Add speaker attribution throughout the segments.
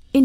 Speaker 1: verscheen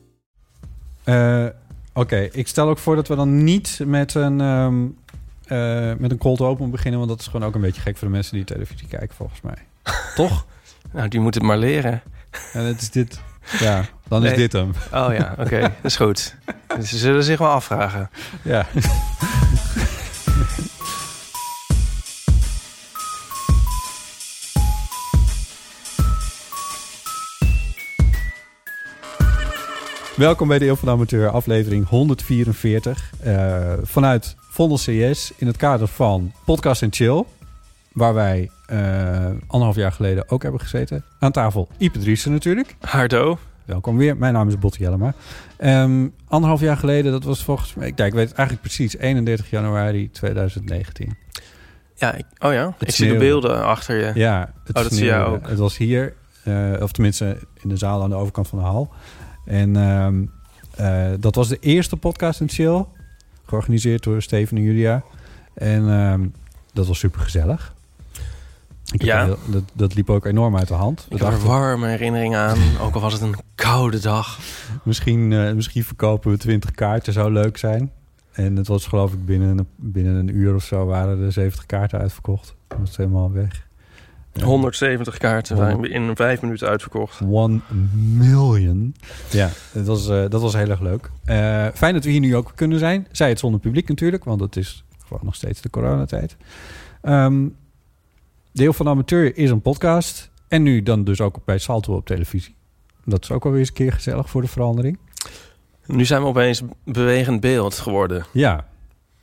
Speaker 2: Eh, Oké, ik stel ook voor dat we dan niet met een, ehm, eh, met een cold open beginnen. Want dat is gewoon ook een beetje gek voor de mensen die televisie kijken, volgens mij. Toch?
Speaker 3: Nou, die moet het maar leren.
Speaker 2: En het is dit. Ja, dan is
Speaker 3: Nee.
Speaker 2: dit hem.
Speaker 3: Oh ja, oké, dat is goed. Dus Ze zullen zich wel afvragen.
Speaker 2: Ja. Welkom bij de Eeuw van de Amateur, aflevering 144. eh, vanuit Vondel CS in het kader van Podcast en Chill. Waar wij eh, anderhalf jaar geleden ook hebben gezeten. Aan tafel Ipe Driessen natuurlijk.
Speaker 3: Hardo.
Speaker 2: Welkom weer. Mijn naam is Botti Jellema. Ehm, anderhalf jaar geleden, dat was volgens mij... Kijk, ik weet het eigenlijk precies. 31 januari 2019.
Speaker 3: Ja, ik- oh ja, ik zie de
Speaker 2: sneeuwde.
Speaker 3: beelden achter je.
Speaker 2: Ja, het
Speaker 3: Oh, dat zie jij
Speaker 2: sneeuwde.
Speaker 3: ook.
Speaker 2: Het was hier, eh, of tenminste in de zaal aan de overkant van de hal. En ehm, eh, dat was de eerste podcast in Chill. Georganiseerd door Steven en Julia. En ehm, dat was super gezellig.
Speaker 3: Ja.
Speaker 2: dat, dat liep ook enorm uit de hand. We
Speaker 3: Ik heb er
Speaker 2: dachten,
Speaker 3: warme herinneringen aan, ook al was het een koude dag.
Speaker 2: Misschien, eh, misschien verkopen we 20 kaarten, zou leuk zijn. En het was geloof ik binnen een, binnen een uur of zo waren er 70 kaarten uitverkocht. Dat was helemaal weg. Ja.
Speaker 3: 170 kaarten
Speaker 2: zijn
Speaker 3: in vijf minuten uitverkocht.
Speaker 2: One million. Ja, dat was, eh, dat was heel erg leuk. Eh, fijn dat we hier nu ook kunnen zijn. Zij het zonder publiek natuurlijk, want het is gewoon nog steeds de coronatijd. Ehm Deel van de Amateur is een podcast. En nu dan dus ook bij Salto op televisie. Dat is ook alweer eens een keer gezellig voor de verandering.
Speaker 3: Nu zijn we opeens bewegend beeld geworden.
Speaker 2: Ja,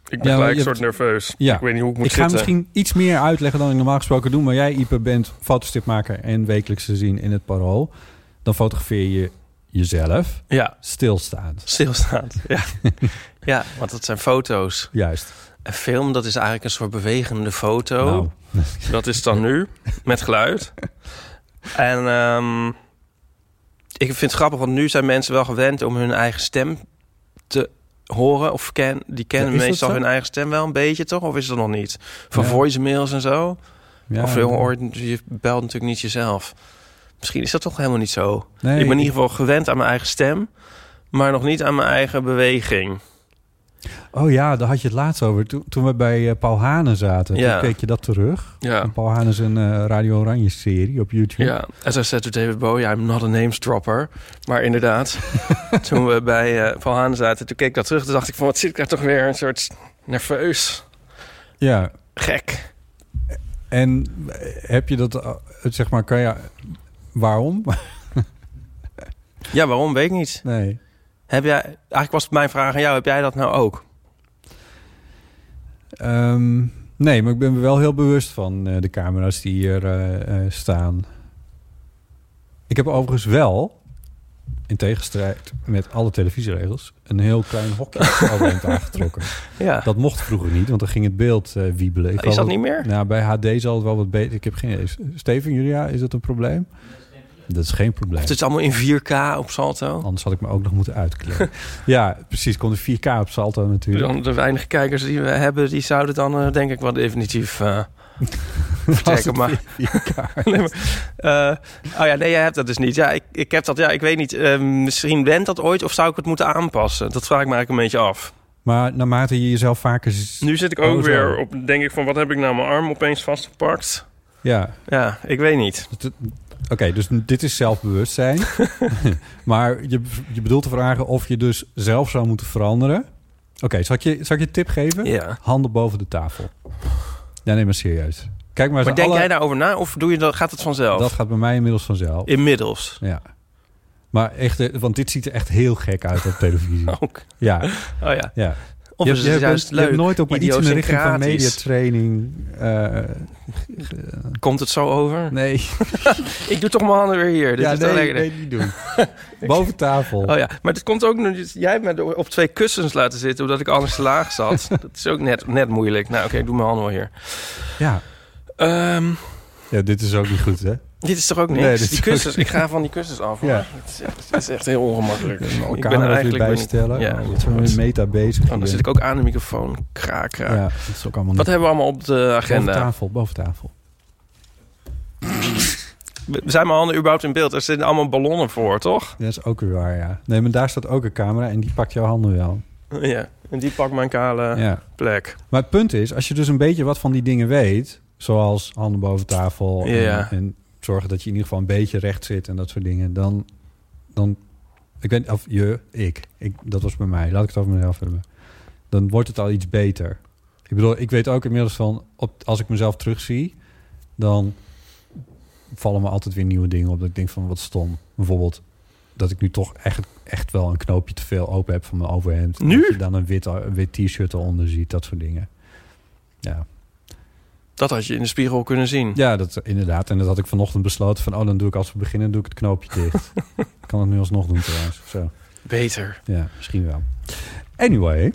Speaker 3: Ik
Speaker 2: ben Ja, gelijk je een soort
Speaker 3: nerveus.
Speaker 2: ja. Ik
Speaker 3: weet niet hoe
Speaker 2: ik ga misschien iets meer uitleggen dan ik normaal gesproken doe. Maar jij, Ipe, bent fotostipmaker en wekelijks te zien in het Parool. Dan fotografeer je jezelf
Speaker 3: Ja,
Speaker 2: stilstaand.
Speaker 3: stilstaand. Ja. ja, want dat zijn foto's.
Speaker 2: Juist.
Speaker 3: En film, dat is eigenlijk een soort bewegende foto.
Speaker 2: Nou,
Speaker 3: Dat is dan nu, met geluid. En ehm, ik vind het grappig, want nu zijn mensen wel gewend om hun eigen stem te horen. Of ken, die kennen
Speaker 2: Ja, is dat
Speaker 3: meestal
Speaker 2: zo?
Speaker 3: hun eigen stem wel een beetje, toch? Of is dat nog niet? Van
Speaker 2: Ja.
Speaker 3: voicemails en zo.
Speaker 2: ja,
Speaker 3: of je, hoort, je belt natuurlijk niet jezelf. Misschien is dat toch helemaal niet zo.
Speaker 2: nee,
Speaker 3: ik ben in ieder geval gewend aan mijn eigen stem. Maar nog niet aan mijn eigen beweging.
Speaker 2: Oh ja, daar had je het laatst over. Toen, toen we bij eh, Paul Hanen zaten,
Speaker 3: Ja.
Speaker 2: toen keek je dat terug.
Speaker 3: Ja.
Speaker 2: Paul Hanen is een eh, Radio Oranje serie op YouTube.
Speaker 3: Ja, as I said to David Bowie, I'm not a namesdropper. Maar inderdaad, toen we bij eh Van Haan zaten, toen keek ik dat terug. Toen dacht ik van, wat zit ik daar toch weer een soort nerveus,
Speaker 2: Ja,
Speaker 3: gek.
Speaker 2: En heb je dat, eh, zeg maar, kan je... Waarom?
Speaker 3: Ja, waarom, weet ik niet.
Speaker 2: nee.
Speaker 3: Heb jij, eigenlijk was mijn vraag aan jou, heb jij dat nou ook?
Speaker 2: Ehm, nee, maar ik ben me wel heel bewust van eh, de camera's die hier eh, eh, staan. Ik heb overigens wel, in tegenstrijd met alle televisieregels, een heel klein hokje over het aangetrokken.
Speaker 3: Ja,
Speaker 2: Dat mocht vroeger niet, want dan ging het beeld eh, wiebelen. Ik
Speaker 3: is
Speaker 2: geloof
Speaker 3: dat Oh, niet meer?
Speaker 2: Nou, bij HD zal het wel wat beter. Ik heb geen idee. Steven, Julia, is dat een probleem? Dat is geen probleem.
Speaker 3: Het is allemaal in 4K op Salto.
Speaker 2: Anders had ik me ook nog moeten uitkleden. ja, precies. Komt de 4K op Salto natuurlijk.
Speaker 3: Dan de weinige kijkers die we hebben, die zouden dan eh, denk ik wel definitief eh,
Speaker 2: Als het
Speaker 3: vertrekken. Maar
Speaker 2: 4K.
Speaker 3: Nee, maar, eh, oh ja, nee, jij hebt dat dus niet. Ja, ik, ik heb dat, ja, ik weet niet. eh, misschien went dat ooit of zou ik het moeten aanpassen? Dat vraag ik me eigenlijk een beetje af.
Speaker 2: Maar naarmate je jezelf vaker... z-
Speaker 3: Nu zit ik
Speaker 2: Oh,
Speaker 3: ook
Speaker 2: zo.
Speaker 3: weer op, denk ik van, wat heb ik nou mijn arm opeens vastgepakt?
Speaker 2: Ja,
Speaker 3: Ja, ik weet niet.
Speaker 2: Dat- dat- Oké, dus dit is zelfbewustzijn. maar je, je bedoelt te vragen of je dus zelf zou moeten veranderen. Oké, zal, ik je, zal ik je een tip geven?
Speaker 3: Ja.
Speaker 2: Handen boven de tafel. Ja, neem maar serieus. Kijk maar, eens
Speaker 3: Maar denk
Speaker 2: alle-
Speaker 3: jij daarover na of doe je dat, gaat het vanzelf?
Speaker 2: Dat gaat bij mij inmiddels vanzelf.
Speaker 3: Inmiddels.
Speaker 2: Ja. Maar echt, eh, want dit ziet er echt heel gek uit op televisie.
Speaker 3: Ook.
Speaker 2: Ja,
Speaker 3: Oh ja.
Speaker 2: ja.
Speaker 3: Of
Speaker 2: je,
Speaker 3: is
Speaker 2: je
Speaker 3: het juist
Speaker 2: bent-
Speaker 3: leuk?
Speaker 2: Je hebt nooit op maar iets in de richting van
Speaker 3: idiosyncratisch.
Speaker 2: mediatraining. eh,
Speaker 3: Komt het zo over?
Speaker 2: nee,
Speaker 3: Ik doe toch mijn handen weer hier. Dit
Speaker 2: ja,
Speaker 3: is toch
Speaker 2: nee,
Speaker 3: lekker.
Speaker 2: nee, niet doen. Boven tafel.
Speaker 3: Oh ja, maar het komt ook nu. dus Jij hebt me door- op twee kussens laten zitten omdat ik anders te laag zat. dat is ook net, net moeilijk. Nou, oké, ik doe mijn handen wel hier.
Speaker 2: ja.
Speaker 3: Ehm,
Speaker 2: ja, dit is ook niet goed, hè?
Speaker 3: dit is toch ook niks?
Speaker 2: Nee, dit is
Speaker 3: die
Speaker 2: ook
Speaker 3: kussens, ik ga van die kussens af.
Speaker 2: Ja.
Speaker 3: Ja. Het, is echt, het is echt heel ongemakkelijk.
Speaker 2: Ik
Speaker 3: ik
Speaker 2: ben er eigenlijk
Speaker 3: ben
Speaker 2: bij
Speaker 3: ik-
Speaker 2: stellen.
Speaker 3: Ja,
Speaker 2: Ja, oh, wat zijn we met meta bezig?
Speaker 3: Oh,
Speaker 2: hier?
Speaker 3: dan zit ik ook aan de microfoon. Kraak, kraak.
Speaker 2: Ja, dat is ook allemaal
Speaker 3: Wat
Speaker 2: niet.
Speaker 3: hebben we allemaal op de
Speaker 2: Boven
Speaker 3: agenda?
Speaker 2: tafel, boven tafel.
Speaker 3: Zijn mijn handen überhaupt in beeld? Er zitten allemaal ballonnen voor, toch?
Speaker 2: Dat is ook weer waar, ja. Nee, maar daar staat ook een camera en die pakt jouw handen wel.
Speaker 3: Ja. En die pakt mijn kale
Speaker 2: Ja.
Speaker 3: plek.
Speaker 2: Maar het punt is, als je dus een beetje wat van die dingen weet... zoals handen boven tafel en,
Speaker 3: Ja.
Speaker 2: en zorgen dat je in ieder geval een beetje recht zit... en dat soort dingen, dan... dan ik weet niet of je, ik, ik, dat was bij mij. Laat ik het over mezelf hebben. Dan wordt het al iets beter. Ik bedoel, ik weet ook inmiddels van... Op, als ik mezelf terugzie, dan vallen me altijd weer nieuwe dingen op. Dat ik denk van, wat stom. Bijvoorbeeld dat ik nu toch echt, echt wel een knoopje te veel open heb van mijn overhemd.
Speaker 3: Nu?
Speaker 2: Dat je dan een wit, een wit t-shirt eronder ziet, dat soort dingen. Ja,
Speaker 3: Dat had je in de spiegel kunnen zien.
Speaker 2: ja dat, inderdaad. En dat had ik vanochtend besloten van... oh, dan doe ik als we beginnen, doe ik het knoopje dicht. Ik kan het nu alsnog doen trouwens. of Zo.
Speaker 3: Beter.
Speaker 2: Ja, misschien wel. Anyway. ehm,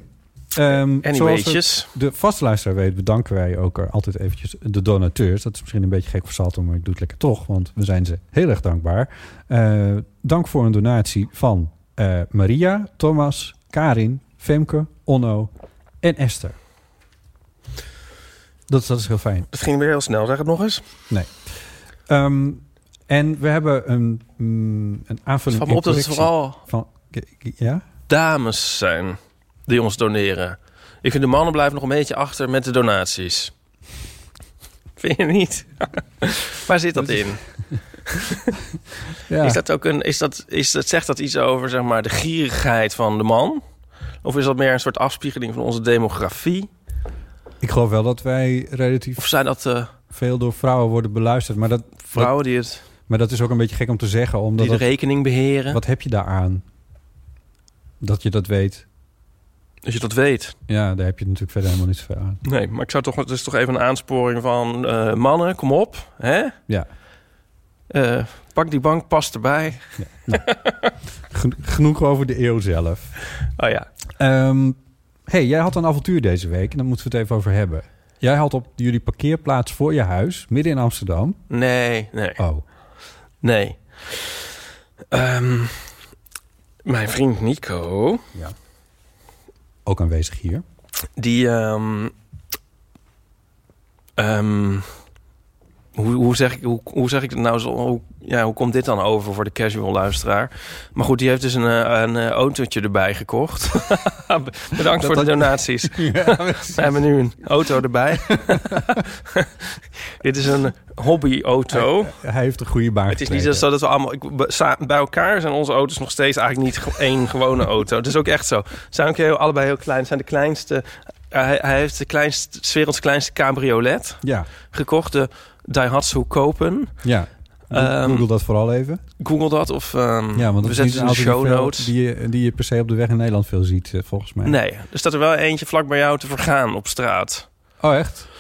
Speaker 2: zoals we-
Speaker 3: Anyway'tjes.
Speaker 2: de vaste luisteraar weet, bedanken wij ook er altijd eventjes de donateurs. Dat is misschien een beetje gek voor Salto, maar ik doe het lekker toch, want we zijn ze heel erg dankbaar. Eh, dank voor een donatie van eh, Maria, Thomas, Karin, Femke, Onno en Esther. Dat, dat is heel fijn.
Speaker 3: Het ging weer heel snel. Zeg het nog eens.
Speaker 2: Ehm, en we hebben een, mm, een
Speaker 3: Het
Speaker 2: aanvulling.
Speaker 3: valt
Speaker 2: en
Speaker 3: me op dat het
Speaker 2: correctie
Speaker 3: vooral
Speaker 2: Van, ja?
Speaker 3: dames zijn die ons doneren. Ik vind de mannen blijven nog een beetje achter met de donaties. Vind je niet? Waar zit dat in?
Speaker 2: ja.
Speaker 3: Is dat ook een, is dat, is dat, zegt dat iets over zeg maar, de gierigheid van de man? Of is dat meer een soort afspiegeling van onze demografie?
Speaker 2: Ik geloof wel dat wij relatief
Speaker 3: Of zijn dat eh,
Speaker 2: veel door vrouwen worden beluisterd, maar dat,
Speaker 3: vrouwen die, het,
Speaker 2: maar dat is ook een beetje gek om te zeggen, omdat
Speaker 3: die de
Speaker 2: dat-
Speaker 3: rekening beheren?
Speaker 2: Wat heb je daaraan? Dat je dat weet.
Speaker 3: Als je dat weet.
Speaker 2: Ja, daar heb je natuurlijk verder helemaal niets veel aan.
Speaker 3: Nee, maar ik zou toch, het is toch even een aansporing van eh, mannen, kom op. Hè?
Speaker 2: Ja.
Speaker 3: Eh, pak die bank, pas erbij.
Speaker 2: Gen- Genoeg over de eeuw zelf.
Speaker 3: Oh ja.
Speaker 2: Ehm, hey, jij had een avontuur deze week en daar moeten we het even over hebben. Jij had op jullie parkeerplaats voor je huis, midden in Amsterdam.
Speaker 3: Nee, nee,
Speaker 2: Oh,
Speaker 3: nee. Ehm, mijn vriend Nico,
Speaker 2: ook aanwezig hier.
Speaker 3: die... ehm, ehm, hoe, hoe, zeg ik, hoe, hoe zeg ik het nou? Zo, hoe, ja, hoe komt dit dan over voor de casual luisteraar? Maar goed, die heeft dus een, eh, een eh, autootje erbij gekocht. Bedankt voor de donaties. We hebben nu een auto erbij. Dit is een hobbyauto.
Speaker 2: Hij heeft een goede baan
Speaker 3: Het is niet
Speaker 2: gekregen.
Speaker 3: zo dat we allemaal... Ik, be- sa- bij elkaar zijn onze auto's nog steeds eigenlijk niet ge- één gewone auto. Het is ook echt zo. Zijn ook heel, allebei heel klein. Zijn de kleinste... eh, hij, hij heeft de kleinste, 's werelds kleinste cabriolet
Speaker 2: Ja,
Speaker 3: gekocht. De Daihatsu Kopen.
Speaker 2: ja.
Speaker 3: Ehm,
Speaker 2: Google dat vooral even.
Speaker 3: Google dat of... ehm,
Speaker 2: Ja, want
Speaker 3: we
Speaker 2: dat is niet
Speaker 3: zetten
Speaker 2: een
Speaker 3: het in de
Speaker 2: auto
Speaker 3: show
Speaker 2: die, veel-
Speaker 3: notes.
Speaker 2: die, je, die je per se op de weg in Nederland veel ziet, eh, volgens mij.
Speaker 3: Nee, er staat er wel eentje vlak bij jou te vergaan op straat.
Speaker 2: Oh, echt?
Speaker 3: Ja,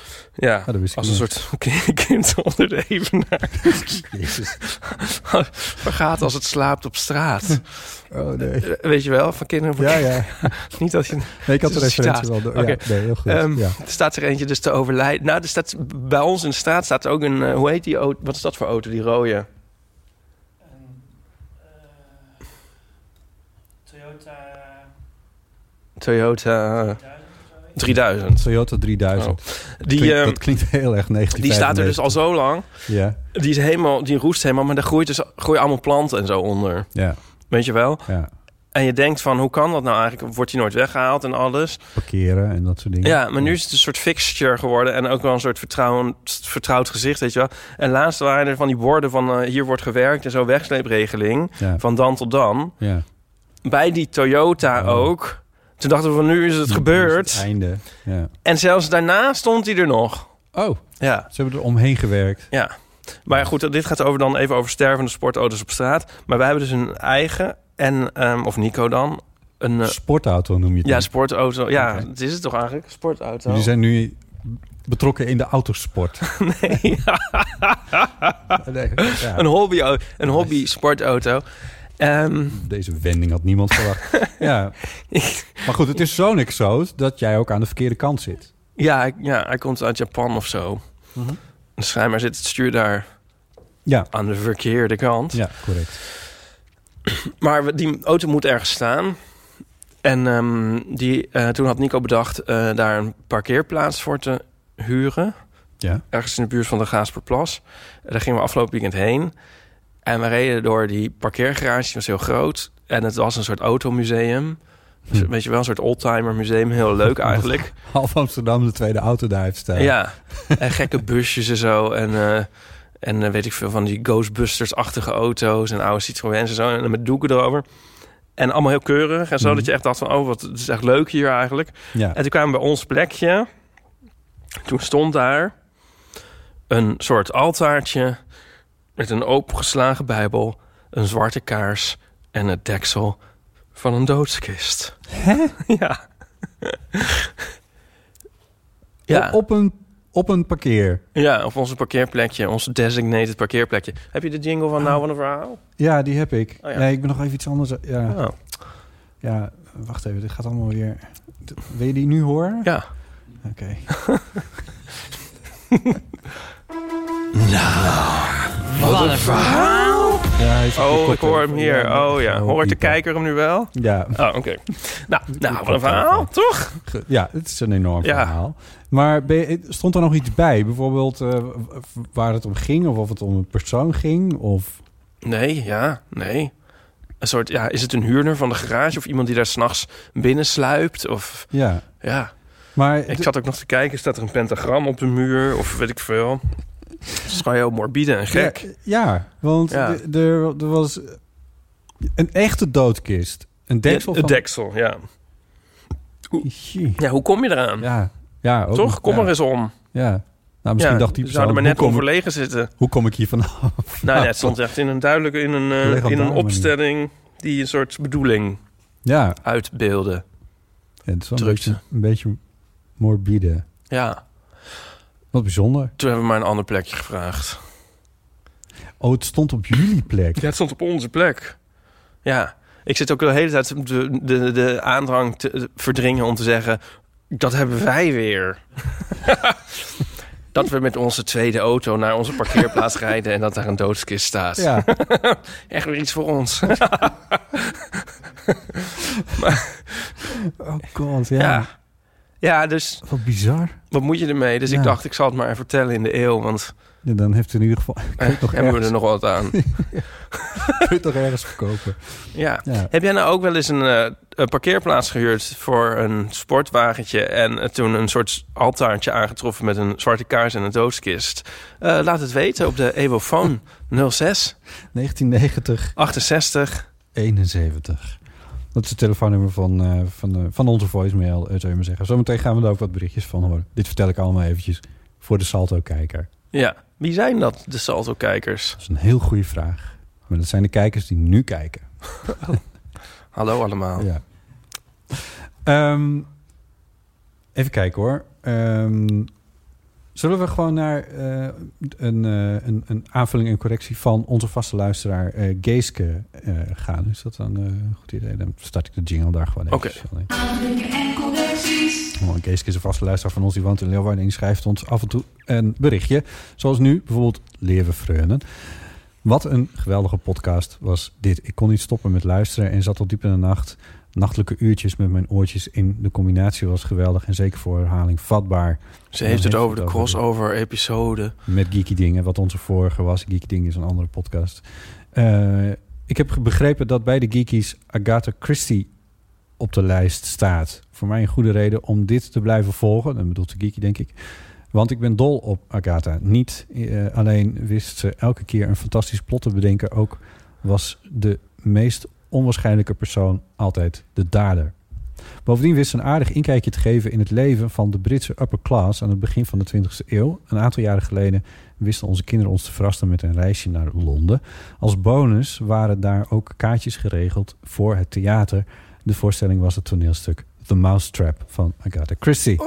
Speaker 2: Ja, Ah, dat wist ik
Speaker 3: als een
Speaker 2: niet.
Speaker 3: soort kind onder de evenaar.
Speaker 2: Jezus.
Speaker 3: Vergaat als het slaapt op straat.
Speaker 2: Oh, nee.
Speaker 3: Eh, Weet je wel, van kinderen voor
Speaker 2: Ja, ja.
Speaker 3: niet dat je...
Speaker 2: Nee, ik had de
Speaker 3: Het is een
Speaker 2: referentie wel door. Ja,
Speaker 3: Oké.
Speaker 2: nee, heel goed.
Speaker 3: Ehm,
Speaker 2: ja.
Speaker 3: Er staat er eentje dus te overlijden. Nou, er staat, bij ons in de straat staat ook een... eh, hoe heet die auto? Wat is dat voor auto, die rode? Toyota... Toyota... 3000.
Speaker 2: Toyota 3000.
Speaker 3: Oh. Die,
Speaker 2: Klinkt-
Speaker 3: ehm,
Speaker 2: dat klinkt heel erg negatief.
Speaker 3: die staat er dus al zo lang.
Speaker 2: Ja,
Speaker 3: Die, is helemaal, die roest helemaal, maar daar groeit dus, groeien allemaal planten en zo onder.
Speaker 2: ja,
Speaker 3: Weet je wel?
Speaker 2: ja.
Speaker 3: En je denkt van, hoe kan dat nou eigenlijk? Wordt hij nooit weggehaald en alles?
Speaker 2: Parkeren en dat soort dingen.
Speaker 3: Ja, maar nu is het een soort fixture geworden. En ook wel een soort vertrouwend, vertrouwd gezicht, weet je wel. En laatst waren er van die borden van... eh, hier wordt gewerkt en zo wegsleepregeling.
Speaker 2: Ja.
Speaker 3: Van dan tot dan.
Speaker 2: Ja.
Speaker 3: Bij die Toyota
Speaker 2: Oh.
Speaker 3: ook. Toen dachten we van, nu is het
Speaker 2: Dat is
Speaker 3: gebeurd.
Speaker 2: het einde. Ja.
Speaker 3: En zelfs daarna stond hij er nog.
Speaker 2: Oh,
Speaker 3: Ja,
Speaker 2: ze hebben er omheen gewerkt.
Speaker 3: ja. Maar goed, dit gaat over dan even over stervende sportauto's op straat. Maar wij hebben dus een eigen, en, ehm, of Nico dan, een... eh,
Speaker 2: Sportauto noem je het.
Speaker 3: ja,
Speaker 2: dan.
Speaker 3: sportauto. Ja,
Speaker 2: Oké.
Speaker 3: het is het toch eigenlijk? Sportauto.
Speaker 2: Jullie zijn nu betrokken in de autosport.
Speaker 3: Nee, ja.
Speaker 2: Nee, ja.
Speaker 3: Een hobby, een hobby sportauto. Ehm,
Speaker 2: Deze wending had niemand verwacht. ja. Maar goed, het is zo'n exoot dat jij ook aan de verkeerde kant zit.
Speaker 3: ja, hij- ja, hij komt uit Japan of zo.
Speaker 2: Mhm.
Speaker 3: En schijnbaar zit het stuur daar
Speaker 2: Ja,
Speaker 3: aan de verkeerde kant.
Speaker 2: ja correct.
Speaker 3: Maar we- die auto moet ergens staan. En ehm, die, eh, toen had Nico bedacht eh, daar een parkeerplaats voor te huren.
Speaker 2: Ja.
Speaker 3: Ergens in de buurt van de Gaasperplas. En daar gingen we afgelopen weekend heen. En we reden door die parkeergarage, die was heel groot. En het was een soort automuseum. Dus,
Speaker 2: Hm.
Speaker 3: Weet je wel, een soort oldtimer museum. Heel leuk eigenlijk.
Speaker 2: Half Amsterdam de tweede auto daar heeft staan.
Speaker 3: Ja, en gekke busjes en zo. En, eh, en eh, weet ik veel van die Ghostbusters-achtige auto's en oude Citroëns en zo. En met doeken erover. En allemaal heel keurig en zo.
Speaker 2: Mhm.
Speaker 3: Dat je echt dacht van, oh, wat het is echt leuk hier eigenlijk.
Speaker 2: Ja.
Speaker 3: En toen kwamen we bij ons plekje. Toen stond daar een soort altaartje met een opengeslagen bijbel, een zwarte kaars en het deksel van een doodskist. Hè? Ja. ja.
Speaker 2: Op, op een, op een parkeer.
Speaker 3: Ja, op onze parkeerplekje, ons designated parkeerplekje. Heb je de jingle van Nou van een Verhaal?
Speaker 2: Ja, die heb ik.
Speaker 3: Oh ja.
Speaker 2: Nee, ik ben nog even iets anders. Ja,
Speaker 3: Oh,
Speaker 2: ja wacht even. Dit gaat allemaal weer... D- Wil je die nu horen?
Speaker 3: ja.
Speaker 2: Oké. Nou,
Speaker 4: Wat een verhaal.
Speaker 2: Ja, hij is op de
Speaker 3: oh ik
Speaker 2: koptelefoon.
Speaker 3: hoor hem hier. Oh ja, hoort de
Speaker 2: pieper.
Speaker 3: kijker hem nu wel?
Speaker 2: Ja,
Speaker 3: Oh, oké. Nou, nou, wat een verhaal, toch?
Speaker 2: Ge- Ja, het is een enorm
Speaker 3: Ja.
Speaker 2: verhaal. Maar ben je- stond er nog iets bij? Bijvoorbeeld eh, w- w- waar het om ging? Of of het om een persoon ging? Of...
Speaker 3: Nee, ja, nee. Een soort, ja, is het een huurder van de garage of iemand die daar s'nachts binnensluipt? Of,
Speaker 2: Ja,
Speaker 3: ja.
Speaker 2: maar
Speaker 3: Ik
Speaker 2: d-
Speaker 3: zat ook nog te kijken, staat er een pentagram op de muur? Of weet ik veel. Het is gewoon heel morbide en gek.
Speaker 2: Ja, ja, want
Speaker 3: Ja.
Speaker 2: d- er er was een echte doodkist. Een deksel
Speaker 3: Ja,
Speaker 2: van...
Speaker 3: Het deksel, ja.
Speaker 2: Jee.
Speaker 3: Ja, hoe kom je eraan?
Speaker 2: Ja, ja ook
Speaker 3: toch?
Speaker 2: nog,
Speaker 3: Kom
Speaker 2: ja,
Speaker 3: er eens om.
Speaker 2: Ja. Nou, misschien
Speaker 3: ja,
Speaker 2: dacht die
Speaker 3: ze
Speaker 2: persoon,
Speaker 3: zouden maar
Speaker 2: hoe
Speaker 3: net
Speaker 2: kom, ik,
Speaker 3: onverlegen zitten.
Speaker 2: hoe kom ik hier vanaf?
Speaker 3: Nou, net stond echt in een duidelijke, in een, eh, in
Speaker 2: Legendare
Speaker 3: een
Speaker 2: Ah, manier.
Speaker 3: opstelling die een soort bedoeling
Speaker 2: Ja,
Speaker 3: uitbeelde.
Speaker 2: Ja, het is wel een
Speaker 3: Drukte.
Speaker 2: beetje, een beetje morbide.
Speaker 3: Ja,
Speaker 2: Wat bijzonder.
Speaker 3: toen hebben we maar een ander plekje gevraagd.
Speaker 2: Oh, het stond op jullie plek.
Speaker 3: Ja, het stond op onze plek. Ja, ik zit ook de hele tijd de, de, de aandrang te te verdringen om te zeggen... dat hebben wij weer. dat we met onze tweede auto naar onze parkeerplaats rijden... en dat daar een doodskist staat.
Speaker 2: Ja,
Speaker 3: Echt weer iets voor ons.
Speaker 2: oh god, ja.
Speaker 3: Ja. ja, dus
Speaker 2: Wat bizar.
Speaker 3: wat moet je ermee? Dus
Speaker 2: Ja.
Speaker 3: ik dacht, ik zal het maar even vertellen in de eeuw... want
Speaker 2: Ja, dan heeft u in ieder geval
Speaker 3: Eh,
Speaker 2: nog
Speaker 3: hebben we
Speaker 2: ergens.
Speaker 3: er nog wat aan.
Speaker 2: kun je het toch ergens verkopen.
Speaker 3: ja.
Speaker 2: Ja.
Speaker 3: Heb jij nou ook wel eens een, eh, een parkeerplaats gehuurd voor een sportwagentje... en eh, toen een soort altaartje aangetroffen met een zwarte kaars en een doodskist? Eh, laat het weten op de Evofoon 06
Speaker 2: 1990,
Speaker 3: 68.
Speaker 2: 71. Dat is het telefoonnummer van, eh, van, eh, van onze voicemail, eh, zou je maar zeggen. Zometeen gaan we daar ook wat berichtjes van horen. Dit vertel ik allemaal eventjes voor de Salto-kijker.
Speaker 3: Ja, wie zijn dat, de Salto-kijkers?
Speaker 2: Dat is een heel goede vraag. Maar dat zijn de kijkers die nu kijken.
Speaker 3: Hallo allemaal.
Speaker 2: Ja. Ehm, even kijken hoor. Ehm, zullen we gewoon naar eh, een, eh, een, een aanvulling en correctie van onze vaste luisteraar eh, Geeske eh, gaan? Is dat dan eh, een goed idee? Dan start ik de jingle daar gewoon even.
Speaker 3: Oké.
Speaker 2: Oh, Geeske is een vaste luisteraar van ons. Die woont in Leeuwarden en die schrijft ons af en toe een berichtje. Zoals nu bijvoorbeeld Leeuwen Freunen. Wat een geweldige podcast was dit. Ik kon niet stoppen met luisteren en zat tot diep in de nacht. Nachtelijke uurtjes met mijn oortjes in. De combinatie was geweldig en zeker voor herhaling vatbaar.
Speaker 3: Ze heeft het
Speaker 2: Dan
Speaker 3: over de
Speaker 2: heeft het over
Speaker 3: crossover-episode.
Speaker 2: Met Geeky Dingen, wat onze vorige was. Geeky Dingen is een andere podcast. Eh, ik heb begrepen dat bij de geekies Agatha Christie op de lijst staat. Voor mij een goede reden om dit te blijven volgen. Dan bedoelt de geekie, denk ik. Want ik ben dol op Agatha. Niet eh, alleen wist ze elke keer een fantastisch plot te bedenken. Ook was de meest onwaarschijnlijke persoon altijd de dader. Bovendien wist ze een aardig inkijkje te geven in het leven van de Britse upper class aan het begin van de 20e eeuw. Een aantal jaren geleden wisten onze kinderen ons te verrassen met een reisje naar Londen. Als bonus waren daar ook kaartjes geregeld voor het theater. De voorstelling was het toneelstuk The Mousetrap van Agatha Christie.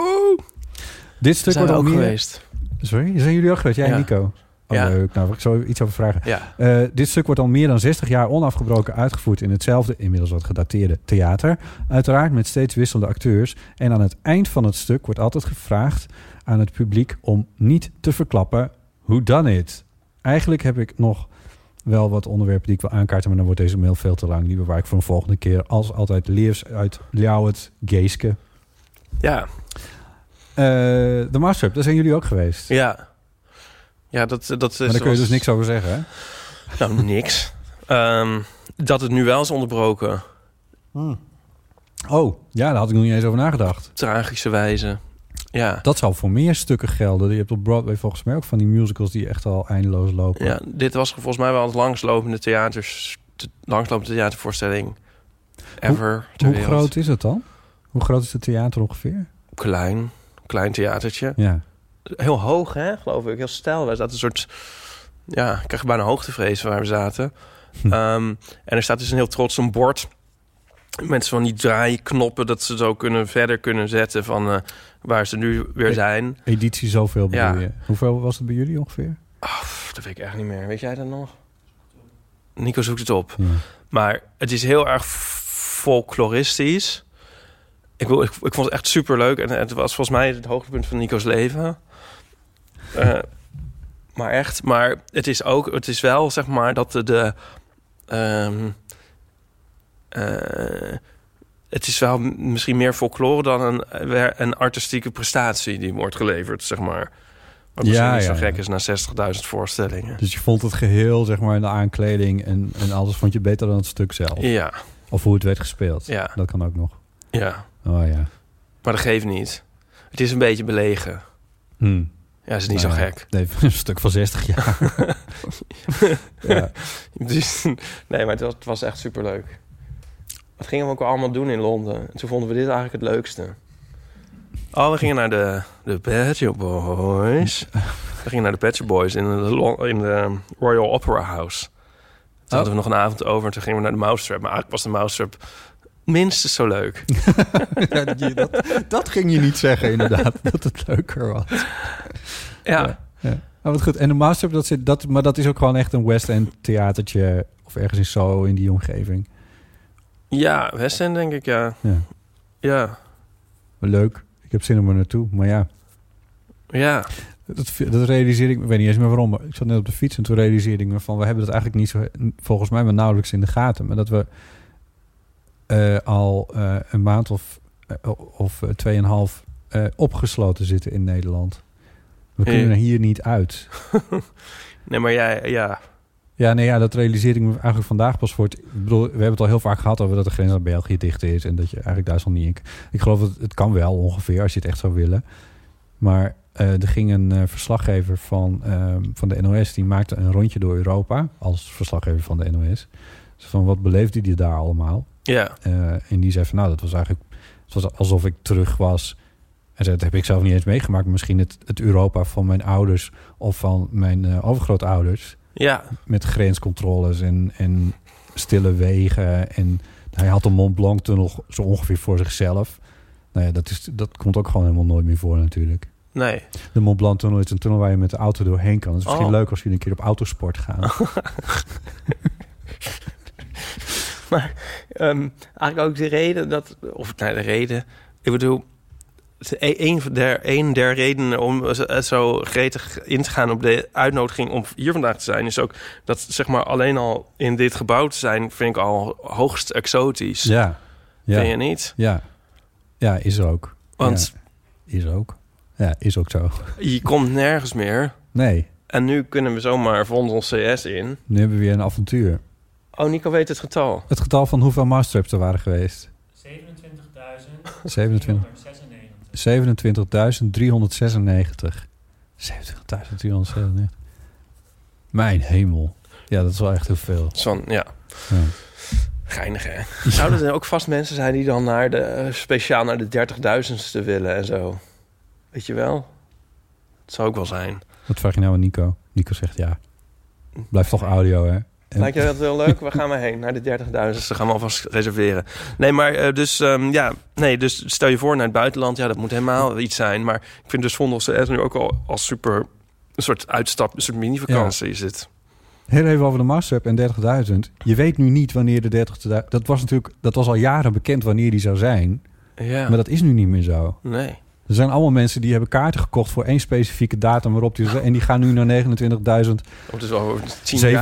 Speaker 2: Dit stuk
Speaker 3: Zijn we
Speaker 2: wordt
Speaker 3: ook
Speaker 2: al meer-
Speaker 3: geweest.
Speaker 2: Sorry, zijn jullie ook geweest? Jij
Speaker 3: Ja.
Speaker 2: en Nico? Oh,
Speaker 3: Ja.
Speaker 2: leuk. Nou, ik zou iets over vragen.
Speaker 3: Ja.
Speaker 2: Eh, dit stuk wordt al meer dan 60 jaar onafgebroken uitgevoerd in hetzelfde, inmiddels wat gedateerde theater. Uiteraard met steeds wisselende acteurs. En aan het eind van het stuk wordt altijd gevraagd aan het publiek om niet te verklappen hoe dan it. Eigenlijk heb ik nog wel wat onderwerpen die ik wil aankaarten, maar dan wordt deze mail veel te lang. Die bewaar ik voor een volgende keer. Als altijd leers uit Ljouwert Geeske.
Speaker 3: Ja.
Speaker 2: Eh, de Master, daar zijn jullie ook geweest.
Speaker 3: Ja. Ja, dat, dat is...
Speaker 2: maar daar kun je
Speaker 3: was-
Speaker 2: dus niks over zeggen, hè?
Speaker 3: Nou, niks. Ehm, dat het nu wel is onderbroken.
Speaker 2: Oh, ja, daar had ik nog niet eens over nagedacht.
Speaker 3: Tragische wijze. Ja.
Speaker 2: Dat zou voor meer stukken gelden. Je hebt op Broadway volgens mij ook van die musicals die echt al eindeloos lopen.
Speaker 3: ja, dit was volgens mij wel het langslopende theaters... de langslopende theatervoorstelling ever ter
Speaker 2: Hoe
Speaker 3: wereld.
Speaker 2: groot is het dan? Hoe groot is het theater ongeveer?
Speaker 3: Klein. Klein theatertje.
Speaker 2: Ja.
Speaker 3: Heel hoog, hè, geloof ik. Heel stijl. We zaten een soort... Ja, ik kreeg bijna hoogtevrees waar we zaten.
Speaker 2: Hm.
Speaker 3: Ehm, en er staat dus een heel trots een bord... met van die draaiknoppen... dat ze zo kunnen, verder kunnen zetten van eh, waar ze nu weer
Speaker 2: Ik-
Speaker 3: zijn.
Speaker 2: Editie zoveel bedoel
Speaker 3: Ja.
Speaker 2: je. Hoeveel was het bij jullie ongeveer?
Speaker 3: Ah, pff, dat weet ik echt niet meer. Weet jij dat nog? Nico zoekt het op.
Speaker 2: Ja.
Speaker 3: Maar het is heel erg folkloristisch. Ik, wil, ik, ik vond het echt super leuk. En het was volgens mij het hoogtepunt van Nico's leven. Eh, maar echt, maar het is ook, het is wel zeg maar dat de. de ehm, eh, het is wel m- misschien meer folklore dan een, wer- een artistieke prestatie die wordt geleverd, zeg maar. Wat misschien
Speaker 2: Ja,
Speaker 3: niet zo
Speaker 2: ja,
Speaker 3: gek
Speaker 2: ja.
Speaker 3: is na 60.000 voorstellingen.
Speaker 2: Dus je vond het geheel, zeg maar, in de aankleding en, en alles vond je beter dan het stuk zelf.
Speaker 3: Ja,
Speaker 2: Of hoe het werd gespeeld.
Speaker 3: Ja.
Speaker 2: Dat kan ook nog.
Speaker 3: ja.
Speaker 2: Oh ja.
Speaker 3: Maar dat geeft niet. Het is een beetje belegen.
Speaker 2: Hm.
Speaker 3: Ja, is niet
Speaker 2: Nou
Speaker 3: zo
Speaker 2: ja.
Speaker 3: gek.
Speaker 2: Nee, een stuk van 60 jaar. ja.
Speaker 3: Dus, nee, maar het was, het was echt superleuk. Wat gingen we ook allemaal doen in Londen? En toen vonden we dit eigenlijk het leukste. Oh, we gingen naar de, de Pet Shop Boys. We gingen naar de Pet Shop Boys in de, Lo- in de Royal Opera House. Toen hadden we nog een avond over en toen gingen we naar de Mousetrap. Maar eigenlijk was de Mousetrap minstens zo leuk.
Speaker 2: Ja, die- dat, dat ging je niet zeggen, inderdaad. Dat het leuker was.
Speaker 3: Ja,
Speaker 2: Oh, wat goed. En de Master, dat zit, dat, maar dat is ook gewoon echt een West End theatertje. Of ergens in Soho, in die omgeving.
Speaker 3: ja West End denk ik, ja.
Speaker 2: Ja.
Speaker 3: Ja,
Speaker 2: Leuk. Ik heb zin om er naartoe. Maar ja,
Speaker 3: ja.
Speaker 2: dat, dat realiseer ik me. Ik weet niet eens meer waarom. Maar ik zat net op de fiets en toen realiseerde ik me van... we hebben dat eigenlijk niet zo... volgens mij maar nauwelijks in de gaten. Maar dat we eh, al eh, een maand of, eh, of eh, tweeënhalf eh, opgesloten zitten in Nederland. We
Speaker 3: Ja.
Speaker 2: kunnen er hier niet uit.
Speaker 3: Nee, maar jij, ja.
Speaker 2: Ja, nee, ja, dat realiseer ik me eigenlijk vandaag pas voor het... Ik bedoel, we hebben het al heel vaak gehad over dat de grens aan België dicht is... en dat je eigenlijk Duitsland niet... in- Ik geloof dat het kan wel ongeveer, als je het echt zou willen. Maar eh, er ging een eh, verslaggever van, ehm, van de NOS... die maakte een rondje door Europa als verslaggever van de NOS. Dus van wat beleefde die daar allemaal?
Speaker 3: Ja.
Speaker 2: Eh, en die zei van, nou, dat was eigenlijk... Het was alsof ik terug was. En zei, dat heb ik zelf niet eens meegemaakt. maar Misschien het, het Europa van mijn ouders of van mijn eh, overgrootouders
Speaker 3: Ja,
Speaker 2: met grenscontroles en, en stille wegen. En hij had de Mont Blanc-tunnel zo ongeveer voor zichzelf. Nou ja, dat, is, dat komt ook gewoon helemaal nooit meer voor natuurlijk.
Speaker 3: nee.
Speaker 2: De Mont Blanc-tunnel is een tunnel waar je met de auto doorheen kan. Het is misschien
Speaker 3: Oh.
Speaker 2: leuk als jullie een keer op autosport gaan.
Speaker 3: Ehm, eigenlijk ook de reden dat... Of nee, de reden... Ik bedoel, het is e- een van der, een der redenen om zo- zo gretig in te gaan op de uitnodiging om hier vandaag te zijn... is ook dat zeg maar alleen al in dit gebouw te zijn vind ik al hoogst exotisch.
Speaker 2: ja.
Speaker 3: Vind je
Speaker 2: Ja.
Speaker 3: niet?
Speaker 2: ja. Ja, is er ook.
Speaker 3: Want
Speaker 2: Ja, is er ook. Ja, is ook zo.
Speaker 3: je komt nergens meer.
Speaker 2: Nee,
Speaker 3: En nu kunnen we zomaar Vondel CS in.
Speaker 2: nu hebben we weer een avontuur.
Speaker 3: Oh, Nico weet het getal.
Speaker 2: Het getal van hoeveel mousetraps er waren geweest. 27.000. 27.396. 27.396. Mijn hemel. Ja, dat is wel echt heel veel.
Speaker 3: Zo'n, ja.
Speaker 2: Ja.
Speaker 3: Geinig, hè? Zouden er ook vast mensen zijn die dan naar de, eh, speciaal naar de 30.000ste willen en zo? Weet je wel? Het zou ook wel zijn.
Speaker 2: Wat vraag je nou aan Nico? Nico zegt ja. Blijft toch audio, hè? En-
Speaker 3: Lijkt je dat wel leuk? Waar gaan we heen? Naar de 30.000ste gaan we alvast reserveren. Nee, maar eh, dus, ehm, ja, nee, dus stel je voor naar het buitenland. Ja, dat moet helemaal iets zijn. Maar ik vind dus Vondels CS nu ook al als super... Een soort uitstap, een soort mini-vakantie is het.
Speaker 2: Heel even over de Mastercap en 30.000. Je weet nu niet wanneer de 30.000... Dat was natuurlijk... Dat was al jaren bekend wanneer die zou zijn.
Speaker 3: Ja,
Speaker 2: Maar dat is nu niet meer zo.
Speaker 3: nee.
Speaker 2: Er zijn allemaal mensen die hebben kaarten gekocht... voor één specifieke datum waarop die... En die gaan nu naar 29.798.
Speaker 3: Oh, het is al over tien jaar. Ik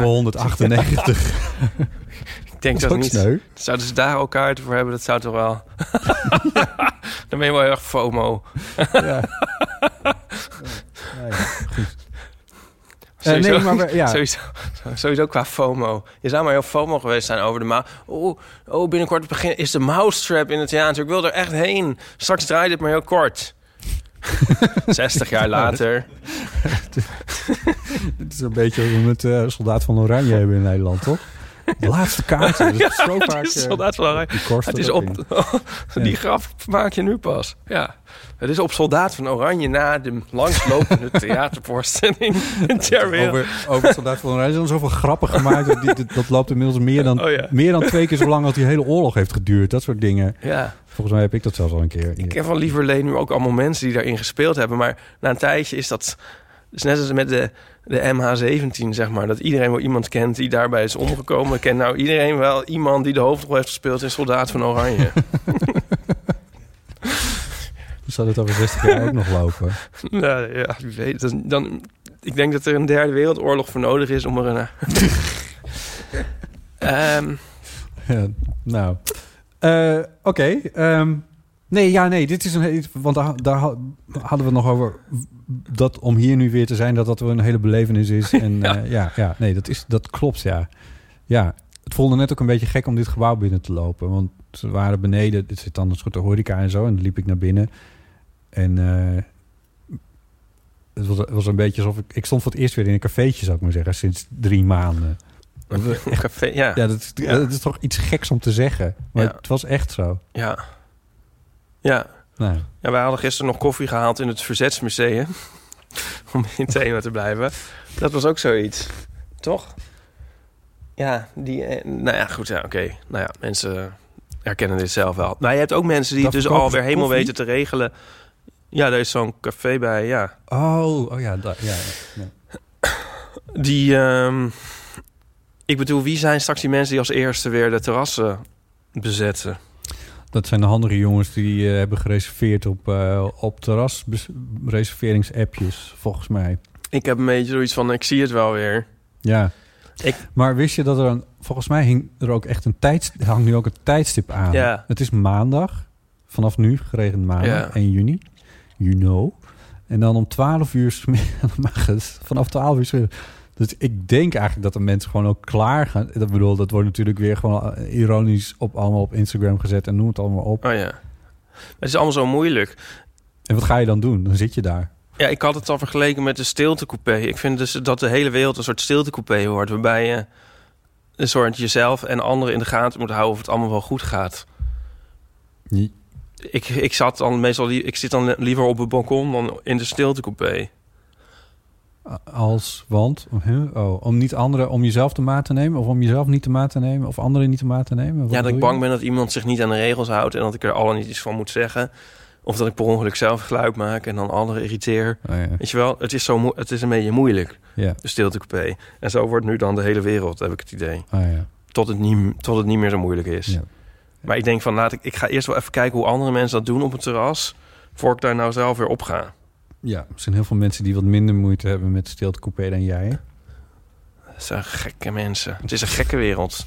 Speaker 3: denk dat,
Speaker 2: Dat is
Speaker 3: niet.
Speaker 2: sneu.
Speaker 3: Zouden ze daar al kaarten voor hebben? Dat zou toch wel... Dan ben je wel heel erg FOMO.
Speaker 2: Ja. Eh,
Speaker 3: Sowieso,
Speaker 2: nee, maar we- ja.
Speaker 3: sowieso, sowieso qua FOMO. Je zou maar heel FOMO geweest zijn over de ma... Oh, oh, binnenkort begin is de Mousetrap in het theater. Ik wil er echt heen. Straks draait het maar heel kort. 60 jaar later.
Speaker 2: Het is een beetje wat we met eh, Soldaat van Oranje hebben in Nederland, toch? De laatste kaart. Dat is zo
Speaker 3: Het
Speaker 2: vaak...
Speaker 3: is
Speaker 2: eh,
Speaker 3: soldaat van Oranje.
Speaker 2: die korst
Speaker 3: Het
Speaker 2: er
Speaker 3: is
Speaker 2: ook in.
Speaker 3: op... Die graf maak je nu pas. Ja. Het is op Soldaat van Oranje na de langslopende theatervoorstelling ter wereld.
Speaker 2: Over, over het Soldaat van Oranje zijn er zoveel grappen gemaakt. Dat, die- dat- dat loopt inmiddels meer dan,
Speaker 3: Oh ja.
Speaker 2: meer dan twee keer zo lang als die hele oorlog heeft geduurd. Dat soort dingen.
Speaker 3: Ja.
Speaker 2: Volgens mij heb ik dat zelfs al een keer.
Speaker 3: Ik heb van Lieverlee nu ook allemaal mensen die daarin gespeeld hebben. Maar na een tijdje is dat... Het is net als met de, de MH17, zeg maar. Dat iedereen wel iemand kent die daarbij is omgekomen. Kent nou iedereen wel iemand die de hoofdrol heeft gespeeld in Soldaat van Oranje?
Speaker 2: Zou dat over 60 jaar ook nog lopen?
Speaker 3: nou, ja, wie weet. Dan, dan, ik denk dat er een derde wereldoorlog voor nodig is om er een... Ehm,
Speaker 2: Ja, nou. Eh, Oké. ehm, nee, ja, nee. Dit is een... Want daar, daar ha- hadden we het nog over... Dat om hier nu weer te zijn, dat dat wel een hele belevenis is. En ja, ja, ja nee, dat, is, dat klopt, ja. Ja, het voelde net ook een beetje gek om dit gebouw binnen te lopen. Want ze waren beneden, dit zit dan een soort horeca en zo. En dan liep ik naar binnen. En eh, het, was, het was een beetje alsof ik... Ik stond voor het eerst weer in een cafeetje, zou ik maar zeggen. Sinds drie maanden.
Speaker 3: een café, ja.
Speaker 2: Ja, dat is, dat is toch iets geks om te zeggen. Maar
Speaker 3: Ja.
Speaker 2: het was echt zo.
Speaker 3: ja. Ja,
Speaker 2: Nou,
Speaker 3: Ja, wij hadden gisteren nog koffie gehaald in het Verzetsmuseum. Om in het thema te blijven. Dat was ook zoiets. Toch? Ja, die... eh, Nou ja, goed. Ja, Oké. Nou ja, mensen herkennen dit zelf wel. Maar je hebt ook mensen die
Speaker 2: Dat
Speaker 3: het dus
Speaker 2: verkopen
Speaker 3: alweer
Speaker 2: ze
Speaker 3: helemaal
Speaker 2: koffie?
Speaker 3: weten te regelen. Ja, daar is zo'n café bij, ja.
Speaker 2: oh, oh ja, da- ja, ja, ja.
Speaker 3: Die... ehm, ik bedoel, wie zijn straks die mensen die als eerste weer de terrassen bezetten?
Speaker 2: Dat zijn de handige jongens die eh, hebben gereserveerd op, eh op terrasreserveringsappjes, volgens mij.
Speaker 3: Ik heb een beetje zoiets van, ik zie het wel weer.
Speaker 2: Ja.
Speaker 3: Ik-
Speaker 2: Maar wist je dat er een... Volgens mij hing er ook echt een tijd, hangt nu ook een tijdstip aan.
Speaker 3: Ja.
Speaker 2: Het is maandag. Vanaf nu, geregend maandag,
Speaker 3: Ja.
Speaker 2: 1 juni. You know. En dan om 12 uur... 's middags- mag het. Vanaf 12 uur... 's middags. Dus ik denk eigenlijk dat de mensen gewoon ook klaar gaan. Ik bedoel, dat wordt natuurlijk weer gewoon eh, ironisch op allemaal op Instagram gezet en noem het allemaal op.
Speaker 3: Oh ja. Het is allemaal zo moeilijk.
Speaker 2: En wat ga je dan doen? Dan zit je daar.
Speaker 3: Ja, ik had het al vergeleken met de stiltecoupé. Ik vind dus dat de hele wereld een soort stiltecoupé wordt... waarbij je een soort jezelf en anderen in de gaten moet houden... of het allemaal wel goed gaat.
Speaker 2: Je-
Speaker 3: Ik, ik, zat dan meestal lie- ik zit dan li- liever op het balkon dan in de stiltecoupé.
Speaker 2: Als, want, huh? oh, om niet anderen, om jezelf de maat te nemen? Of om jezelf niet de maat te nemen? Of anderen niet de maat te nemen? Wat
Speaker 3: Ja, dat
Speaker 2: bedoel
Speaker 3: ik
Speaker 2: je?
Speaker 3: bang ben dat iemand zich niet aan de regels houdt... en dat ik er al niet iets van moet zeggen. Of dat ik per ongeluk zelf geluid maak en dan anderen irriteer.
Speaker 2: Oh, ja.
Speaker 3: Weet je wel, het is, zo moe- het is een beetje moeilijk,
Speaker 2: Ja.
Speaker 3: de stiltecoupé. En zo wordt nu dan de hele wereld, heb ik het idee.
Speaker 2: Ah, ja.
Speaker 3: Tot het niet, tot het niet meer zo moeilijk is.
Speaker 2: Ja.
Speaker 3: Maar ik denk van, laat ik, ik ga eerst wel even kijken hoe andere mensen dat doen op het terras. Voor ik daar nou zelf weer op ga.
Speaker 2: ja, er zijn heel veel mensen die wat minder moeite hebben met stiltecoupé dan jij.
Speaker 3: Dat zijn gekke mensen. Het is een gekke wereld.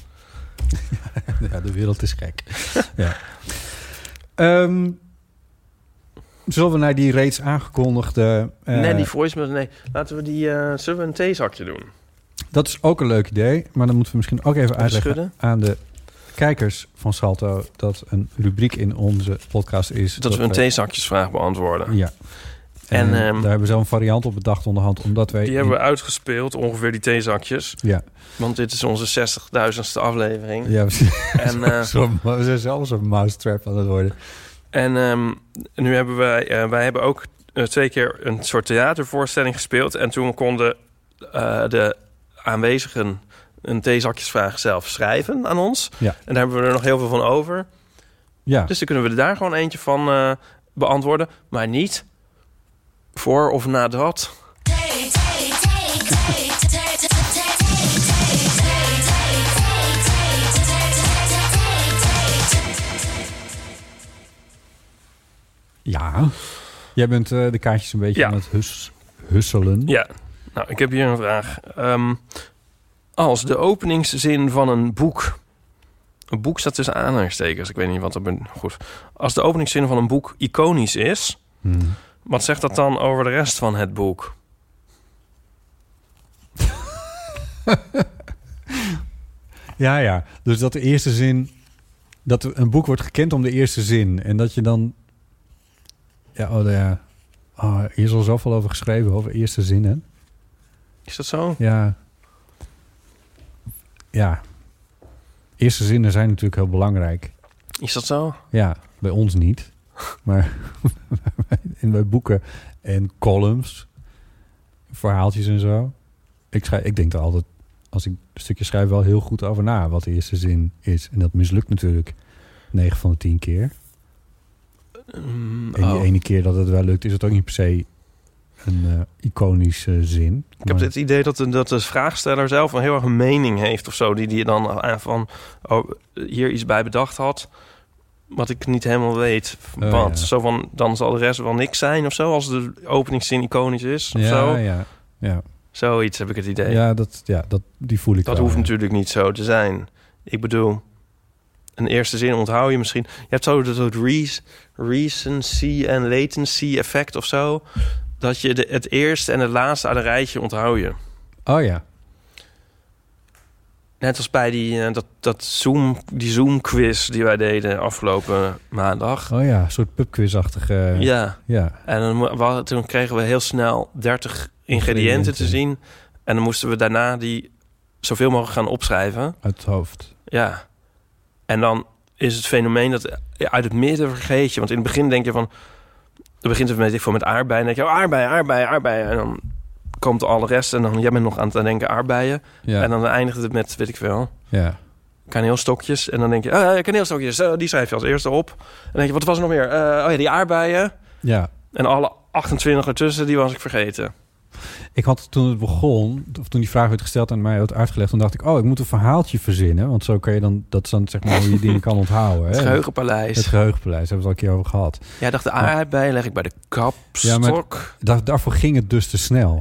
Speaker 2: Ja, de wereld is gek. ja. Ehm, zullen we naar die reeds aangekondigde... eh,
Speaker 3: nee, die voicemail, nee. Laten we die, eh, zullen we een theezakje doen?
Speaker 2: Dat is ook een leuk idee, maar dan moeten we misschien ook even uitleggen
Speaker 3: schudden?
Speaker 2: aan de kijkers van Salto dat een rubriek in onze podcast is.
Speaker 3: Dat we een theezakjesvraag beantwoorden.
Speaker 2: Ja. En,
Speaker 3: En,
Speaker 2: eh,
Speaker 3: ehm,
Speaker 2: daar hebben we zo'n variant op bedacht onderhand, omdat wij...
Speaker 3: Die hebben we uitgespeeld, ongeveer die theezakjes.
Speaker 2: Ja,
Speaker 3: Want dit is onze 60.000ste aflevering.
Speaker 2: ja precies.
Speaker 3: En, eh,
Speaker 2: Zo- we zijn zelfs een mousetrap aan het worden.
Speaker 3: En ehm, nu hebben wij, eh, wij hebben ook eh, twee keer een soort theatervoorstelling gespeeld. En toen konden eh, de aanwezigen een theezakjesvraag zelf schrijven aan ons.
Speaker 2: Ja.
Speaker 3: En daar hebben we er nog heel veel van over.
Speaker 2: Ja,
Speaker 3: Dus dan kunnen we er daar gewoon eentje van eh, beantwoorden. Maar niet voor of nadat.
Speaker 2: ja. Jij bent eh, de kaartjes een beetje
Speaker 3: Ja.
Speaker 2: aan het hus, husselen.
Speaker 3: Ja, nou, ik heb hier een vraag. Ehm, als de openingszin van een boek... Een boek staat tussen aanhalingstekens. Ik weet niet wat dat... ben- Goed. Als de openingszin van een boek iconisch is...
Speaker 2: Hmm.
Speaker 3: Wat zegt dat dan over de rest van het boek?
Speaker 2: Ja, ja. Dus dat de eerste zin... Dat er een boek wordt gekend om de eerste zin. En dat je dan... Ja, oh, ja. Oh, hier is al zoveel over geschreven, over eerste zinnen.
Speaker 3: Is dat zo?
Speaker 2: Ja. Ja. Eerste zinnen zijn natuurlijk heel belangrijk.
Speaker 3: Is dat zo?
Speaker 2: Ja, bij ons niet. Maar in bij boeken en columns, verhaaltjes en zo. Ik, schrijf, ik denk er altijd, als ik een stukje schrijf, wel heel goed over na wat de eerste zin is. En dat mislukt natuurlijk 9 van de 10 keer.
Speaker 3: Mm,
Speaker 2: En die
Speaker 3: oh.
Speaker 2: ene keer dat het wel lukt, is het ook niet per se een eh, iconische zin.
Speaker 3: Ik heb het idee dat de, dat de vraagsteller zelf een heel erg een mening heeft of zo. Die die dan aan van oh, hier iets bij bedacht had. Wat ik niet helemaal weet.
Speaker 2: Oh,
Speaker 3: Want
Speaker 2: ja.
Speaker 3: zo van, dan zal de rest wel niks zijn of zo. Als de openingszin iconisch is of
Speaker 2: ja,
Speaker 3: zo.
Speaker 2: Ja, ja.
Speaker 3: Zoiets heb ik het idee.
Speaker 2: ja, dat, ja dat, die voel ik
Speaker 3: Dat
Speaker 2: wel,
Speaker 3: hoeft
Speaker 2: ja.
Speaker 3: natuurlijk niet zo te zijn. Ik bedoel, een eerste zin onthoud je misschien. Je hebt zo dat soort re- recency en latency effect of zo. Dat je de, het eerste en het laatste aan een rijtje onthoud je.
Speaker 2: Oh ja,
Speaker 3: Net als bij die, eh, dat, dat Zoom, die Zoom quiz die wij deden afgelopen maandag.
Speaker 2: oh ja, een soort pubquizachtige... eh,
Speaker 3: Oh, Ja,
Speaker 2: ja.
Speaker 3: en dan, mo- wa- toen kregen we heel snel 30 ingrediënten te zien. En dan moesten we daarna die zoveel mogelijk gaan opschrijven.
Speaker 2: uit het hoofd.
Speaker 3: Ja. En dan is het fenomeen dat eh, uit het midden vergeet je. Want in het begin denk je van... Dan begint het met, ik, veel met aardbeien. Dan denk je, oh, aardbeien, aardbeien, aardbeien. En dan komt al de rest. En dan, jij bent nog aan het denken aardbeien.
Speaker 2: Ja,
Speaker 3: En dan eindigt het met, weet ik veel,
Speaker 2: ja.
Speaker 3: kaneelstokjes. En dan denk je, ah, kaneelstokjes, eh, die schrijf je als eerste op. En dan denk je, wat was er nog meer? Eh, oh ja, die aardbeien.
Speaker 2: ja.
Speaker 3: En alle 28 ertussen, die was ik vergeten.
Speaker 2: Ik had toen het begon, of toen die vraag werd gesteld en mij werd uitgelegd, toen dacht ik, oh, ik moet een verhaaltje verzinnen. Want zo kan je dan, dat is dan zeg maar hoe je dingen kan onthouden.
Speaker 3: Het
Speaker 2: hè?
Speaker 3: geheugenpaleis.
Speaker 2: Het geheugenpaleis, daar hebben we het al een keer over gehad.
Speaker 3: Jij dacht, de aardbeien leg ik bij de kapstok. Ja,
Speaker 2: Da- daarvoor ging het dus te snel.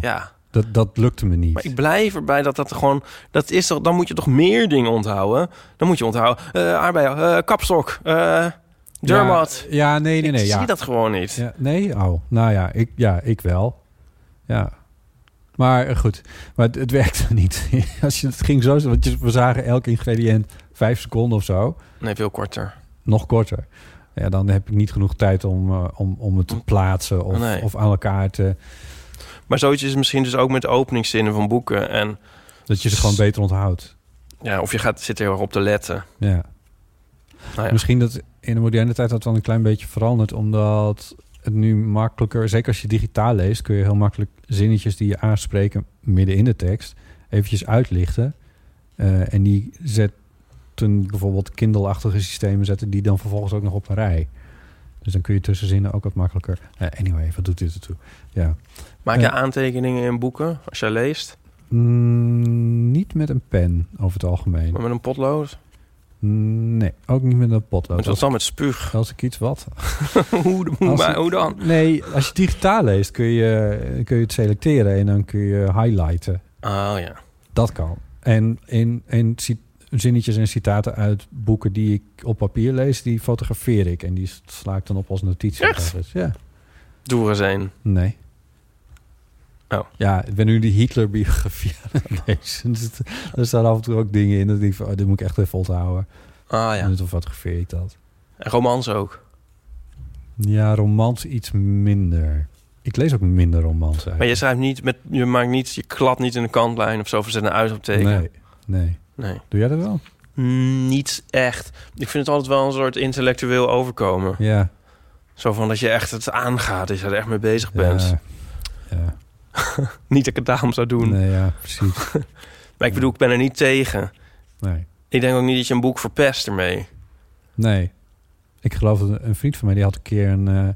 Speaker 2: Dat, dat lukte me niet.
Speaker 3: Maar ik blijf erbij dat dat gewoon... Dat is toch, dan moet je toch meer dingen onthouden? Dan moet je onthouden... eh aardbeien, eh, kapstok, eh dermat.
Speaker 2: Ja, ja, nee, nee, nee.
Speaker 3: ik
Speaker 2: ja.
Speaker 3: zie dat gewoon niet.
Speaker 2: Ja, nee, oh, nou ja ik, ja, ik wel. Ja. Maar eh, goed, maar het, het werkte niet. Als je, het ging zo, want je- we zagen elk ingrediënt vijf seconden of zo.
Speaker 3: Nee, veel korter.
Speaker 2: nog korter. Ja, dan heb ik niet genoeg tijd om, eh, om, om het te plaatsen of,
Speaker 3: Nee.
Speaker 2: of aan elkaar te...
Speaker 3: Maar zoiets is misschien dus ook met openingszinnen van boeken. En
Speaker 2: Dat je ze gewoon beter onthoudt.
Speaker 3: ja, of je gaat, zit er heel erg op te letten.
Speaker 2: Ja.
Speaker 3: Nou ja.
Speaker 2: Misschien dat in de moderne tijd dat wel een klein beetje veranderd, omdat het nu makkelijker, zeker als je digitaal leest, kun je heel makkelijk zinnetjes die je aanspreken midden in de tekst eventjes uitlichten. Eh, en die zetten bijvoorbeeld Kindle-achtige systemen, zetten die dan vervolgens ook nog op een rij. Dus dan kun je tussen zinnen ook wat makkelijker. Eh, anyway, wat doet dit ertoe? Ja.
Speaker 3: Maak je
Speaker 2: Ja.
Speaker 3: aantekeningen in boeken als jij leest?
Speaker 2: Mm, niet met een pen over het algemeen.
Speaker 3: Maar met een potlood?
Speaker 2: Mm, Nee, ook niet met een
Speaker 3: Met
Speaker 2: potlood.
Speaker 3: wat
Speaker 2: Als,
Speaker 3: dan met spuug?
Speaker 2: als ik iets wat.
Speaker 3: hoe, hoe,
Speaker 2: Als-
Speaker 3: maar hoe dan?
Speaker 2: Nee, als je digitaal leest kun je, kun je het selecteren en dan kun je highlighten.
Speaker 3: Oh ja.
Speaker 2: Dat kan. En in, in ci- zinnetjes en citaten uit boeken die ik op papier lees, die fotografeer ik en die sla ik dan op als notitie.
Speaker 3: Echt?
Speaker 2: ergens. Ja.
Speaker 3: Doe er eens een.
Speaker 2: Nee.
Speaker 3: Oh.
Speaker 2: Ja, ik ben nu die Hitler-biografie aan het lezen. Dus het- er staan af en toe ook dingen in dat ik denk van... oh, dit moet ik echt even onthouden.
Speaker 3: Ah
Speaker 2: Ja.
Speaker 3: ja.
Speaker 2: En dan fotografeer ik dat.
Speaker 3: En romans ook.
Speaker 2: Ja, romans iets minder. Ik lees ook minder romans uit.
Speaker 3: Maar je schrijft niet met, je maakt niet, je klad niet in de kantlijn of zo, of zet een uitroepteken.
Speaker 2: Nee, nee.
Speaker 3: nee.
Speaker 2: Doe jij dat wel?
Speaker 3: Mm, niet echt. Ik vind het altijd wel een soort intellectueel overkomen.
Speaker 2: Ja.
Speaker 3: Zo van dat je echt het aangaat, dat je er echt mee bezig bent.
Speaker 2: Ja. ja.
Speaker 3: Niet dat ik het daarom zou doen.
Speaker 2: Nee, ja, precies.
Speaker 3: Maar ik bedoel, ik ben er niet tegen.
Speaker 2: Nee.
Speaker 3: Ik denk ook niet dat je een boek verpest ermee.
Speaker 2: Nee. Ik geloof dat een vriend van mij die had een keer een eh,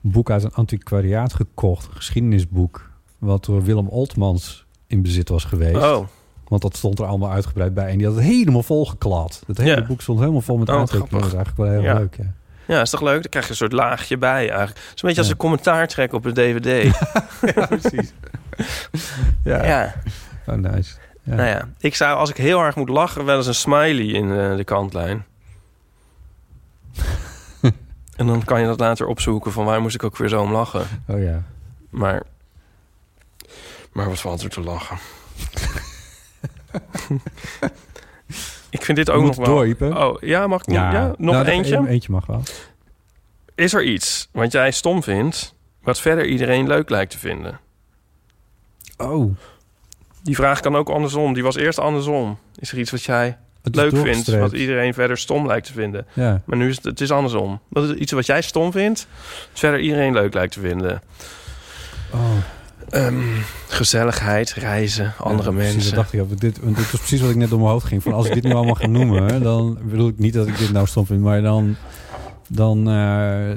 Speaker 2: boek uit een antiquariaat gekocht, een geschiedenisboek, wat door Willem Oltmans in bezit was geweest.
Speaker 3: Oh,
Speaker 2: Want dat stond er allemaal uitgebreid bij en die had het helemaal volgeklad. Het hele
Speaker 3: Ja.
Speaker 2: boek stond helemaal vol met
Speaker 3: Oh, wat
Speaker 2: aantekeningen. Dat is eigenlijk wel heel
Speaker 3: Ja.
Speaker 2: leuk. Ja.
Speaker 3: ja, is toch leuk? Dan krijg je een soort laagje bij eigenlijk. Het is een beetje als
Speaker 2: Ja.
Speaker 3: een commentaar trekken op een DVD.
Speaker 2: precies. ja.
Speaker 3: ja.
Speaker 2: Oh, nice. Ja.
Speaker 3: nou ja. Ik zou, als ik heel erg moet lachen, wel eens een smiley in eh, de kantlijn. en dan kan je dat later opzoeken van waar moest ik ook weer zo om lachen.
Speaker 2: Oh ja.
Speaker 3: Maar, maar wat valt er te lachen? ik vind dit ook
Speaker 2: Moet
Speaker 3: nog wel...
Speaker 2: door, Ipe.
Speaker 3: Oh, ja, mag ik ja. ja? Nog
Speaker 2: Nou, dat-
Speaker 3: eentje?
Speaker 2: Eentje mag wel.
Speaker 3: Is er iets wat jij stom vindt... wat verder iedereen leuk lijkt te vinden?
Speaker 2: Oh,
Speaker 3: Die vraag kan ook andersom. Die was eerst andersom. Is er iets wat jij
Speaker 2: het is
Speaker 3: leuk vindt...
Speaker 2: doorgestreept.
Speaker 3: wat iedereen verder stom lijkt te vinden?
Speaker 2: Ja.
Speaker 3: Maar nu is het, het is andersom. Wat is iets wat jij stom vindt... wat verder iedereen leuk lijkt te vinden?
Speaker 2: Oh.
Speaker 3: Ehm, gezelligheid, reizen, andere
Speaker 2: Ja, Precies,
Speaker 3: mensen.
Speaker 2: dat dacht ik. ook. Dit, want dit was precies wat ik net door mijn hoofd ging. Van als ik dit nu allemaal ga noemen, hè, dan bedoel ik niet dat ik dit nou stom vind, maar dan, dan eh,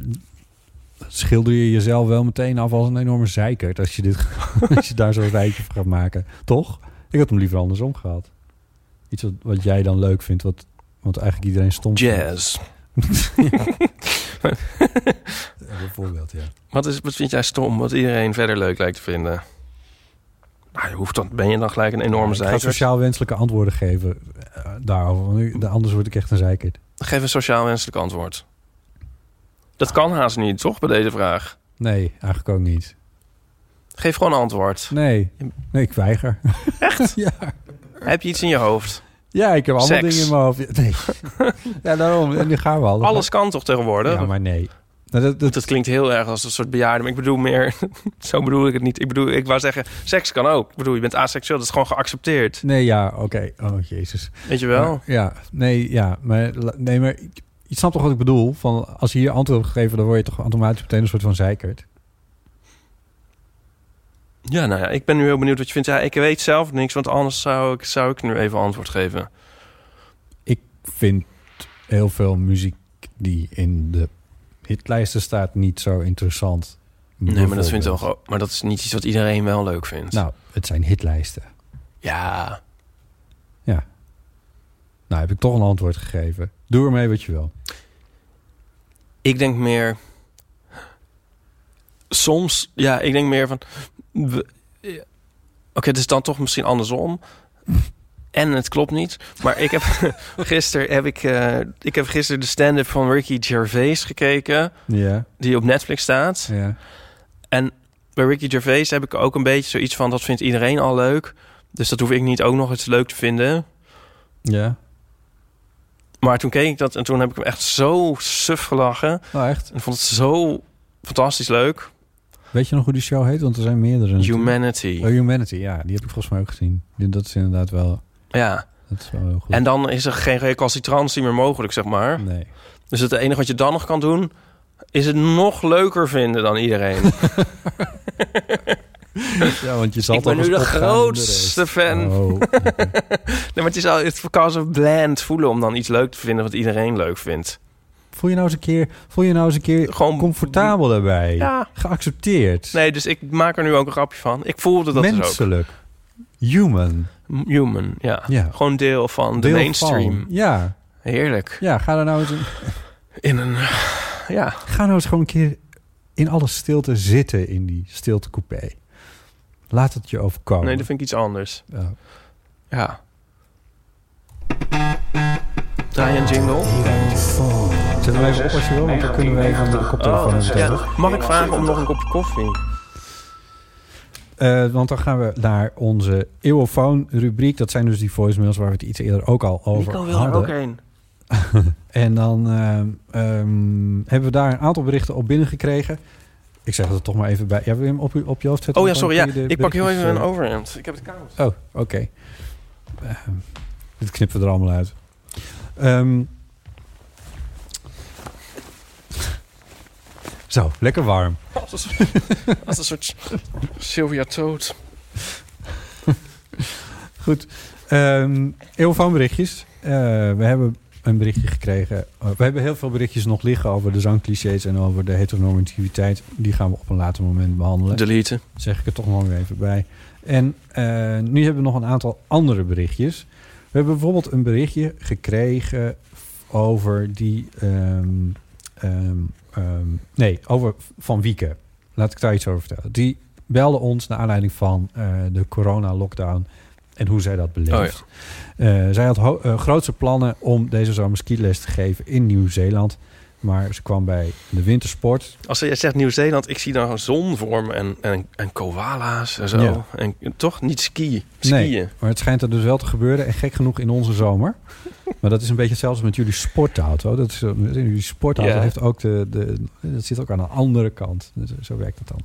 Speaker 2: schilder je jezelf wel meteen af als een enorme zeikert als je, dit, als je daar zo'n rijtje van gaat maken. Toch? Ik had hem liever andersom gehad. Iets wat, wat jij dan leuk vindt, wat, wat eigenlijk iedereen stom vindt.
Speaker 3: Jazz.
Speaker 2: Ja, bijvoorbeeld, ja.
Speaker 3: Wat, is, wat vind jij stom? Wat iedereen verder leuk lijkt te vinden? Nou, je hoeft dan, ben je dan gelijk een enorme
Speaker 2: Ik ga
Speaker 3: zeikert?
Speaker 2: sociaal wenselijke antwoorden geven eh, daarover, want nu- anders word ik echt een zeikert.
Speaker 3: Geef een sociaal wenselijk antwoord. Dat kan haast niet, toch, bij deze vraag?
Speaker 2: Nee, eigenlijk ook niet.
Speaker 3: Geef gewoon een antwoord.
Speaker 2: Nee, nee ik weiger. Echt? ja.
Speaker 3: Heb je iets in je hoofd?
Speaker 2: Ja, ik heb allemaal
Speaker 3: Seks.
Speaker 2: dingen in mijn hoofd. Nee. ja, daarom. En nu gaan we al.
Speaker 3: Alles kan toch tegenwoordig?
Speaker 2: Ja, maar nee. Nou, dat, dat,
Speaker 3: Dat klinkt heel erg als een soort bejaarde, maar ik bedoel meer... zo bedoel ik het niet. Ik bedoel, ik wou zeggen, seks kan ook. Ik bedoel, je bent aseksueel, dat is gewoon geaccepteerd.
Speaker 2: nee, ja, oké. Oh, jezus.
Speaker 3: Weet je wel?
Speaker 2: Maar, ja, nee, ja. Maar, la- nee, maar ik- je snapt toch wat ik bedoel? Van, als je hier antwoord op gegeven, dan word je toch automatisch meteen een soort van zeikert.
Speaker 3: Ja, nou ja, ik ben nu heel benieuwd wat je vindt. Ja, ik weet zelf niks, want anders zou ik, zou ik nu even antwoord geven.
Speaker 2: Ik vind heel veel muziek die in de hitlijsten staat niet zo interessant.
Speaker 3: Nee, maar dat, vindt wel,
Speaker 2: Bijvoorbeeld.
Speaker 3: gewoon- maar dat is niet iets wat iedereen wel leuk vindt.
Speaker 2: Nou, het zijn hitlijsten.
Speaker 3: Ja,
Speaker 2: Ja. Nou, heb ik toch een antwoord gegeven. Doe ermee wat je wil.
Speaker 3: ik denk meer... Soms, ja, ik denk meer van... we- ja. Oké, het is dan toch misschien andersom. En het klopt niet. Maar ik heb gisteren, heb ik, eh, ik heb gisteren de stand-up van Ricky Gervais gekeken.
Speaker 2: Ja,
Speaker 3: Die op Netflix staat.
Speaker 2: ja.
Speaker 3: En bij Ricky Gervais heb ik ook een beetje zoiets van... dat vindt iedereen al leuk. Dus dat hoef ik niet ook nog eens leuk te vinden.
Speaker 2: Ja.
Speaker 3: Maar toen keek ik dat en toen heb ik hem echt zo suf gelachen.
Speaker 2: Nou, echt.
Speaker 3: En vond het zo fantastisch leuk.
Speaker 2: Weet je nog hoe die show heet? Want er zijn meerdere.
Speaker 3: Humanity.
Speaker 2: Oh, Humanity, ja. Die heb ik volgens mij ook gezien. Die- Dat is inderdaad wel...
Speaker 3: Ja.
Speaker 2: Dat is wel heel goed.
Speaker 3: En dan is er geen recalcitrantie meer mogelijk, zeg maar.
Speaker 2: Nee.
Speaker 3: Dus het enige wat je dan nog kan doen... is het nog leuker vinden dan iedereen.
Speaker 2: Ja, want je zal
Speaker 3: ik ben nu de grootste fan.
Speaker 2: Oh, oké.
Speaker 3: Nee, maar het, is al, het kan zo bland voelen om dan iets leuk te vinden... wat iedereen leuk vindt.
Speaker 2: Voel je nou eens een keer, voel je nou eens een keer
Speaker 3: Gewoon-
Speaker 2: comfortabel daarbij?
Speaker 3: Ja.
Speaker 2: Geaccepteerd?
Speaker 3: Nee, dus ik maak er nu ook een grapje van. Ik voelde dat dus ook.
Speaker 2: Menselijk? Human?
Speaker 3: Human, ja.
Speaker 2: Ja.
Speaker 3: Gewoon deel van de
Speaker 2: Deel
Speaker 3: mainstream.
Speaker 2: van. Ja.
Speaker 3: Heerlijk.
Speaker 2: Ja, ga er nou eens... een-
Speaker 3: In een... Ja.
Speaker 2: Ga nou eens gewoon een keer in alle stilte zitten in die stiltecoupé. Laat het je overkomen.
Speaker 3: Nee, dat vind ik iets anders.
Speaker 2: Ja.
Speaker 3: Ja. Draai een jingle.
Speaker 2: Zet hem even op als je wil, want dan kunnen we even de koptelefoon
Speaker 3: Oh,
Speaker 2: aan de
Speaker 3: ja. Mag ik vragen om nog een kopje koffie?
Speaker 2: eh, want dan gaan we naar onze Eeuwofoon-rubriek. Dat zijn dus die voicemails waar we het iets eerder ook al over
Speaker 3: Nico wil er
Speaker 2: hadden.
Speaker 3: ook heen.
Speaker 2: En dan ehm, ehm, hebben we daar een aantal berichten op binnengekregen. Ik zeg het toch maar even bij. Ja, wil je hem op, u- op je hoofd zetten?
Speaker 3: Oh ja,
Speaker 2: Dan
Speaker 3: sorry. Ja.
Speaker 2: kun je de
Speaker 3: Ik pak heel
Speaker 2: berichtjes,
Speaker 3: even een
Speaker 2: eh,
Speaker 3: overhemd. Ik heb het koud.
Speaker 2: Oh, oké. Ehm, dit knippen we er allemaal uit. Ehm, zo, lekker warm.
Speaker 3: Als een, soort- als een soort Sylvia Toad.
Speaker 2: Goed. Ehm heel veel berichtjes. Eh, we hebben een berichtje gekregen. Eh, we hebben heel veel berichtjes nog liggen over de zangclichés en over de heteronormativiteit. Die gaan we op een later moment behandelen.
Speaker 3: Deleten.
Speaker 2: zeg ik er toch nog weer even bij. En eh, nu hebben we nog een aantal andere berichtjes. We hebben bijvoorbeeld een berichtje gekregen over die. ehm, ehm, ehm, nee, over Van Wieken. Laat ik daar iets over vertellen. Die belde ons naar aanleiding van eh, de corona-lockdown en hoe zij dat beleeft.
Speaker 3: Oh
Speaker 2: Eh, zij had ho- eh, grootste plannen om deze zomer skiles te geven in Nieuw-Zeeland. Maar ze kwam bij de wintersport.
Speaker 3: Als jij zegt Nieuw-Zeeland, ik zie dan een zon voor me en, en, en koala's en zo.
Speaker 2: Ja.
Speaker 3: En toch niet ski. Skiën.
Speaker 2: Nee, maar het schijnt er dus wel te gebeuren. En gek genoeg in onze zomer. Maar dat is een beetje hetzelfde met jullie sportauto. Dat is, eh, jullie sportauto
Speaker 3: Ja.
Speaker 2: heeft ook de, de... Dat zit ook aan de andere kant. Dus Zo werkt het dan.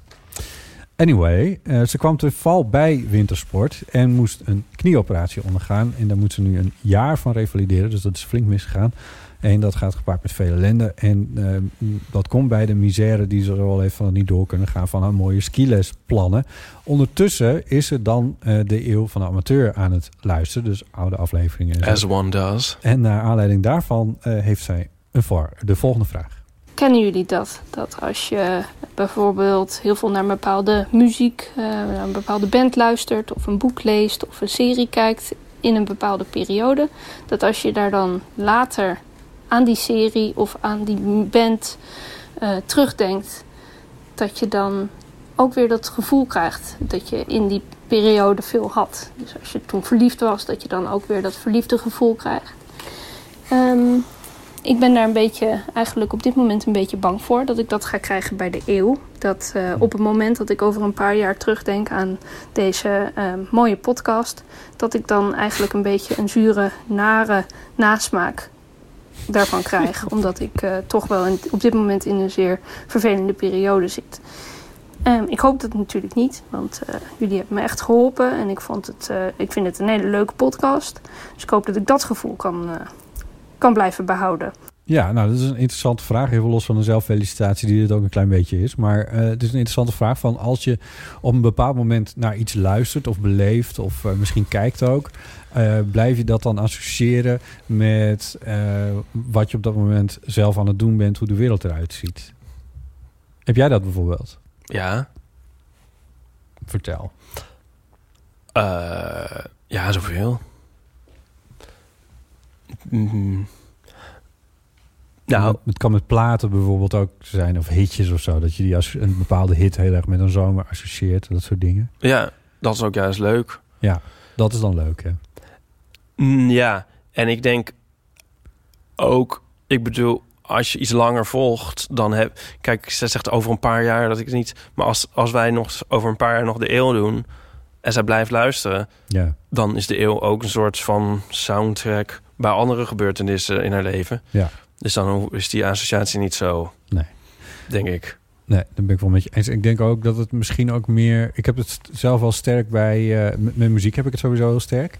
Speaker 2: Anyway, eh, ze kwam te val bij wintersport. En moest een knieoperatie ondergaan. En daar moet ze nu een jaar van revalideren. Dus dat is flink misgegaan. En dat gaat gepaard met vele ellende. En eh, dat komt bij de misère die ze al heeft van het niet door kunnen gaan van haar mooie skilesplannen. Ondertussen is ze dan eh, de eeuw van de amateur aan het luisteren. Dus oude afleveringen. en zo.
Speaker 3: As one does.
Speaker 2: En naar aanleiding daarvan eh, heeft zij een voor, de volgende vraag.
Speaker 5: Kennen jullie dat? Dat als je bijvoorbeeld heel veel naar een bepaalde muziek, eh, naar een bepaalde band luistert, of een boek leest, of een serie kijkt in een bepaalde periode, dat als je daar dan later aan die serie of aan die band eh, terugdenkt, dat je dan ook weer dat gevoel krijgt dat je in die periode veel had. Dus als je toen verliefd was, dat je dan ook weer dat verliefde gevoel krijgt. Ehm, ik ben daar een beetje, eigenlijk op dit moment een beetje bang voor dat ik dat ga krijgen bij de eeuw. Dat eh, op het moment dat ik over een paar jaar terugdenk aan deze eh, mooie podcast, dat ik dan eigenlijk een beetje een zure, nare nasmaak daarvan krijg. Omdat ik eh, toch wel in- op dit moment in een zeer vervelende periode zit. Ehm, ik hoop dat natuurlijk niet, want eh, jullie hebben me echt geholpen en ik, vond het, eh, ik vind het een hele leuke podcast. Dus ik hoop dat ik dat gevoel kan, eh, kan blijven behouden.
Speaker 2: Ja, nou, dat is een interessante vraag. Even los van de zelffelicitatie, die dit ook een klein beetje is. Maar eh, het is een interessante vraag van als je op een bepaald moment naar iets luistert of beleeft, of eh, misschien kijkt ook, eh, blijf je dat dan associëren met eh, wat je op dat moment zelf aan het doen bent, hoe de wereld eruit ziet? Heb jij dat bijvoorbeeld?
Speaker 3: Ja.
Speaker 2: Vertel.
Speaker 3: Eh, ja, zoveel. Mm. Nou,
Speaker 2: Het kan met platen bijvoorbeeld ook zijn, of hitjes of zo, dat je die als een bepaalde hit heel erg met een zomer associeert, dat soort dingen.
Speaker 3: ja, dat is ook juist leuk.
Speaker 2: Dat is dan leuk, hè?
Speaker 3: Mm, ja, en ik denk ook, ik bedoel, als je iets langer volgt, dan heb. Kijk, zij zegt over een paar jaar dat ik het niet. Maar als, als wij nog over een paar jaar nog de eeuw doen en zij blijft luisteren,
Speaker 2: Ja.
Speaker 3: dan is de eeuw ook een soort van soundtrack bij andere gebeurtenissen in haar leven.
Speaker 2: Ja.
Speaker 3: Dus dan is die associatie niet zo.
Speaker 2: Nee.
Speaker 3: Denk ik.
Speaker 2: Nee, dat ben ik wel met je eens. Ik denk ook dat het misschien ook meer... Ik heb het st- zelf wel sterk bij... eh, met, met muziek heb ik het sowieso heel sterk.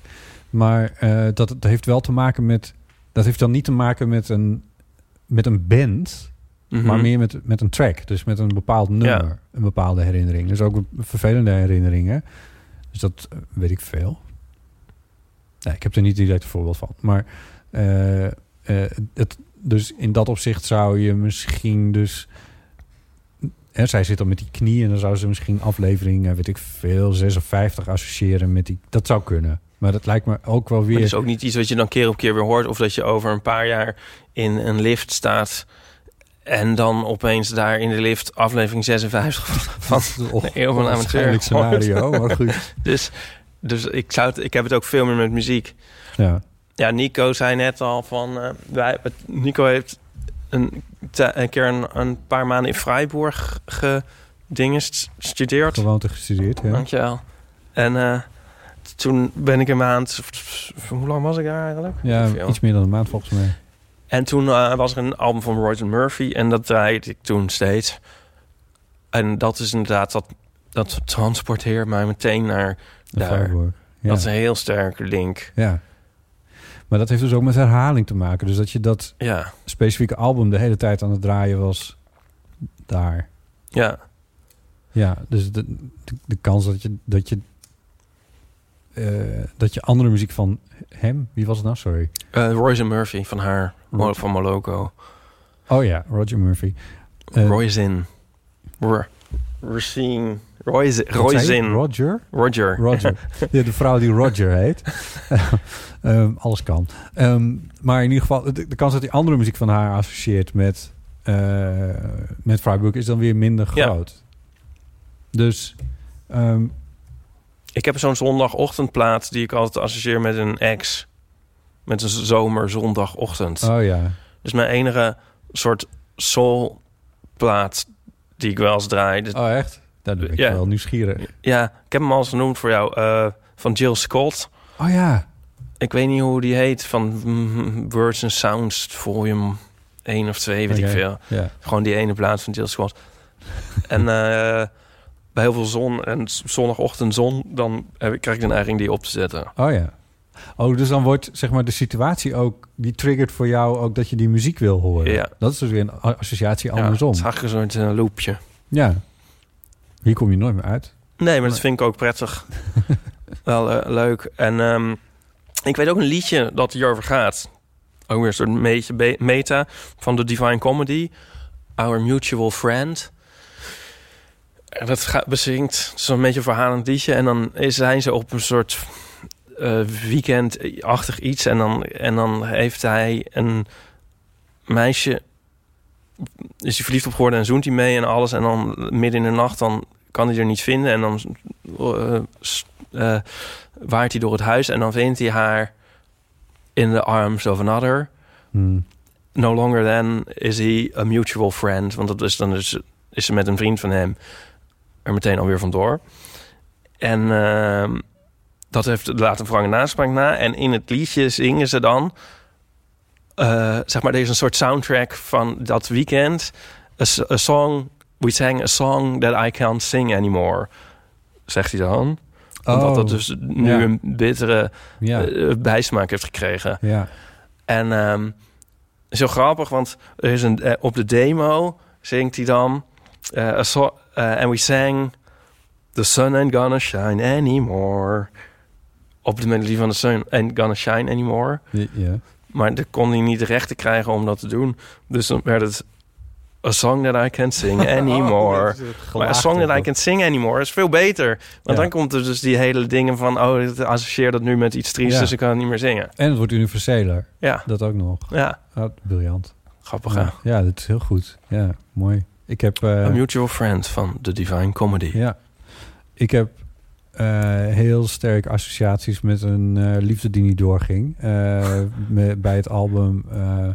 Speaker 2: Maar eh, dat, dat heeft wel te maken met... Dat heeft dan niet te maken met een, met een band...
Speaker 3: Mhm.
Speaker 2: maar meer met, met een track. Dus met een bepaald nummer. Een bepaalde herinnering. Dus ook vervelende herinneringen. Dus dat eh, weet ik veel. Nee, ik heb er niet direct een voorbeeld van. Maar eh, eh, het, dus in dat opzicht zou je misschien dus... Hè, zij zit dan met die knie en dan zou ze misschien aflevering, eh, weet ik veel, 56 associëren met die... Dat zou kunnen. Maar dat lijkt me ook wel
Speaker 3: Maar
Speaker 2: weer...
Speaker 3: het is ook niet iets wat je dan keer op keer weer hoort. Of dat je over een paar jaar in een lift staat. En dan opeens daar in de lift aflevering 56 van de Eeuw van de Amateur.
Speaker 2: Waarschijnlijk scenario, maar goed.
Speaker 3: Dus, dus ik, zou het, ik heb het ook veel meer met muziek.
Speaker 2: Ja.
Speaker 3: Ja, Nico zei net al van... eh, wij, het- Nico heeft een, te- een keer een, een paar maanden in Freiburg ge, dingen st- studeert.
Speaker 2: Gewoonte gestudeerd, ja.
Speaker 3: Dankjewel. En eh, t- toen ben ik een maand... f- f- Hoe lang was ik daar eigenlijk?
Speaker 2: Ja,
Speaker 3: Veel.
Speaker 2: iets meer dan een maand volgens mij.
Speaker 3: En toen eh, was er een album van Royce Murphy en dat draaide ik toen steeds. En dat is inderdaad, dat, dat transporteert mij meteen naar
Speaker 2: De
Speaker 3: daar.
Speaker 2: Valkenburg. Ja.
Speaker 3: Dat is een heel sterke link.
Speaker 2: ja. Maar dat heeft dus ook met herhaling te maken. Dus dat je dat
Speaker 3: Ja,
Speaker 2: specifieke album de hele tijd aan het draaien was daar.
Speaker 3: ja.
Speaker 2: Ja, dus de, de, de kans dat je, dat, je, eh, dat je andere muziek van hem... Wie was het nou? Sorry.
Speaker 3: Eh Royce Murphy van haar, Mo-
Speaker 2: Roger.
Speaker 3: van Moloko.
Speaker 2: Oh ja, Roger Murphy. Eh,
Speaker 3: Royzin. Ro- Racine. Royzin.
Speaker 2: wat zei je?
Speaker 3: Royzin.
Speaker 2: Roger?
Speaker 3: Roger.
Speaker 2: Roger. ja, de vrouw die Roger heet. Ehm, alles kan. Ehm, maar in ieder geval, de, de kans dat hij andere muziek van haar associeert met, eh met Freiburg is dan weer minder
Speaker 3: Ja.
Speaker 2: groot. Dus ehm,
Speaker 3: Ik heb zo'n zondagochtendplaat die ik altijd associeer met een ex. Met een zomerzondagochtend.
Speaker 2: oh ja.
Speaker 3: Dus mijn enige soort soulplaat die ik wel eens draai. Dus-
Speaker 2: Oh echt? Daar ben ik
Speaker 3: Ja.
Speaker 2: wel nieuwsgierig.
Speaker 3: Ja, ik heb hem al eens genoemd voor jou. eh, van Jill Scott.
Speaker 2: Oh ja.
Speaker 3: Ik weet niet hoe die heet. Van mm, Words and Sounds Volume 1 of 2, weet
Speaker 2: Oké.
Speaker 3: ik veel.
Speaker 2: Ja.
Speaker 3: Gewoon die ene plaat van Jill Scott. en eh, bij heel veel zon en z- zondagochtend zon... dan heb ik, krijg ik de neiging die op te zetten.
Speaker 2: Oh ja. Oh, dus dan wordt zeg maar de situatie ook, die triggert voor jou ook dat je die muziek wil horen.
Speaker 3: Ja.
Speaker 2: Dat is dus weer een a- associatie
Speaker 3: Ja,
Speaker 2: andersom.
Speaker 3: het is eigenlijk een soort eh, loopje.
Speaker 2: ja. Hier kom je nooit meer uit.
Speaker 3: Nee, maar dat vind ik ook prettig. Wel eh, leuk. En ehm, ik weet ook een liedje dat hierover gaat. Ook weer een soort me- be- meta van de Divine Comedy. Our Mutual Friend. En dat gaat, bezinkt zo'n beetje een verhalend liedje. En dan is, zijn ze op een soort eh, weekendachtig iets. En dan, en dan heeft hij een meisje... Is hij verliefd op geworden en zoent hij mee en alles. En dan midden in de nacht dan kan hij er niet vinden. En dan eh, s- eh, waait hij door het huis en dan vindt hij haar in the arms of another.
Speaker 2: Hmm.
Speaker 3: No longer then is he a mutual friend. Want dat is dan dus, is ze met een vriend van hem er meteen alweer vandoor. En ehm, dat heeft laat een wrange naspraak na. En in het liedje zingen ze dan... eh, zeg maar, er is een soort soundtrack van dat weekend. A, s- a song... We sang a song that I can't sing anymore. Zegt hij dan. Omdat dat dus nu
Speaker 2: Oh, ja.
Speaker 3: een bittere
Speaker 2: ja.
Speaker 3: eh, bijsmaak heeft gekregen.
Speaker 2: Ja,
Speaker 3: En ehm, zo grappig, want er is een, eh, op de demo zingt hij dan... eh, a so- eh, and we sang... The sun ain't gonna shine anymore. Op de melodie van The sun ain't gonna shine anymore.
Speaker 2: ja, ja.
Speaker 3: Maar daar kon hij niet de rechten krijgen om dat te doen. Dus dan werd het... A song that I can't
Speaker 2: Oh,
Speaker 3: sing anymore. maar A Song That I Can't Sing Anymore is veel beter. Want
Speaker 2: Ja.
Speaker 3: dan komt er dus die hele dingen van... oh, ik associeer dat nu met iets triest,
Speaker 2: Ja.
Speaker 3: dus ik kan het niet meer zingen.
Speaker 2: En het wordt universeler,
Speaker 3: Ja,
Speaker 2: dat ook nog.
Speaker 3: ja.
Speaker 2: Ah, briljant.
Speaker 3: grappig hè?
Speaker 2: Ja, ja, dat is heel goed. Ja, mooi. Ik heb, eh,
Speaker 3: A Mutual Friend van The Divine Comedy.
Speaker 2: ja, ik heb eh, heel sterk associaties met een eh, liefde die niet doorging. Eh, me- bij het album eh,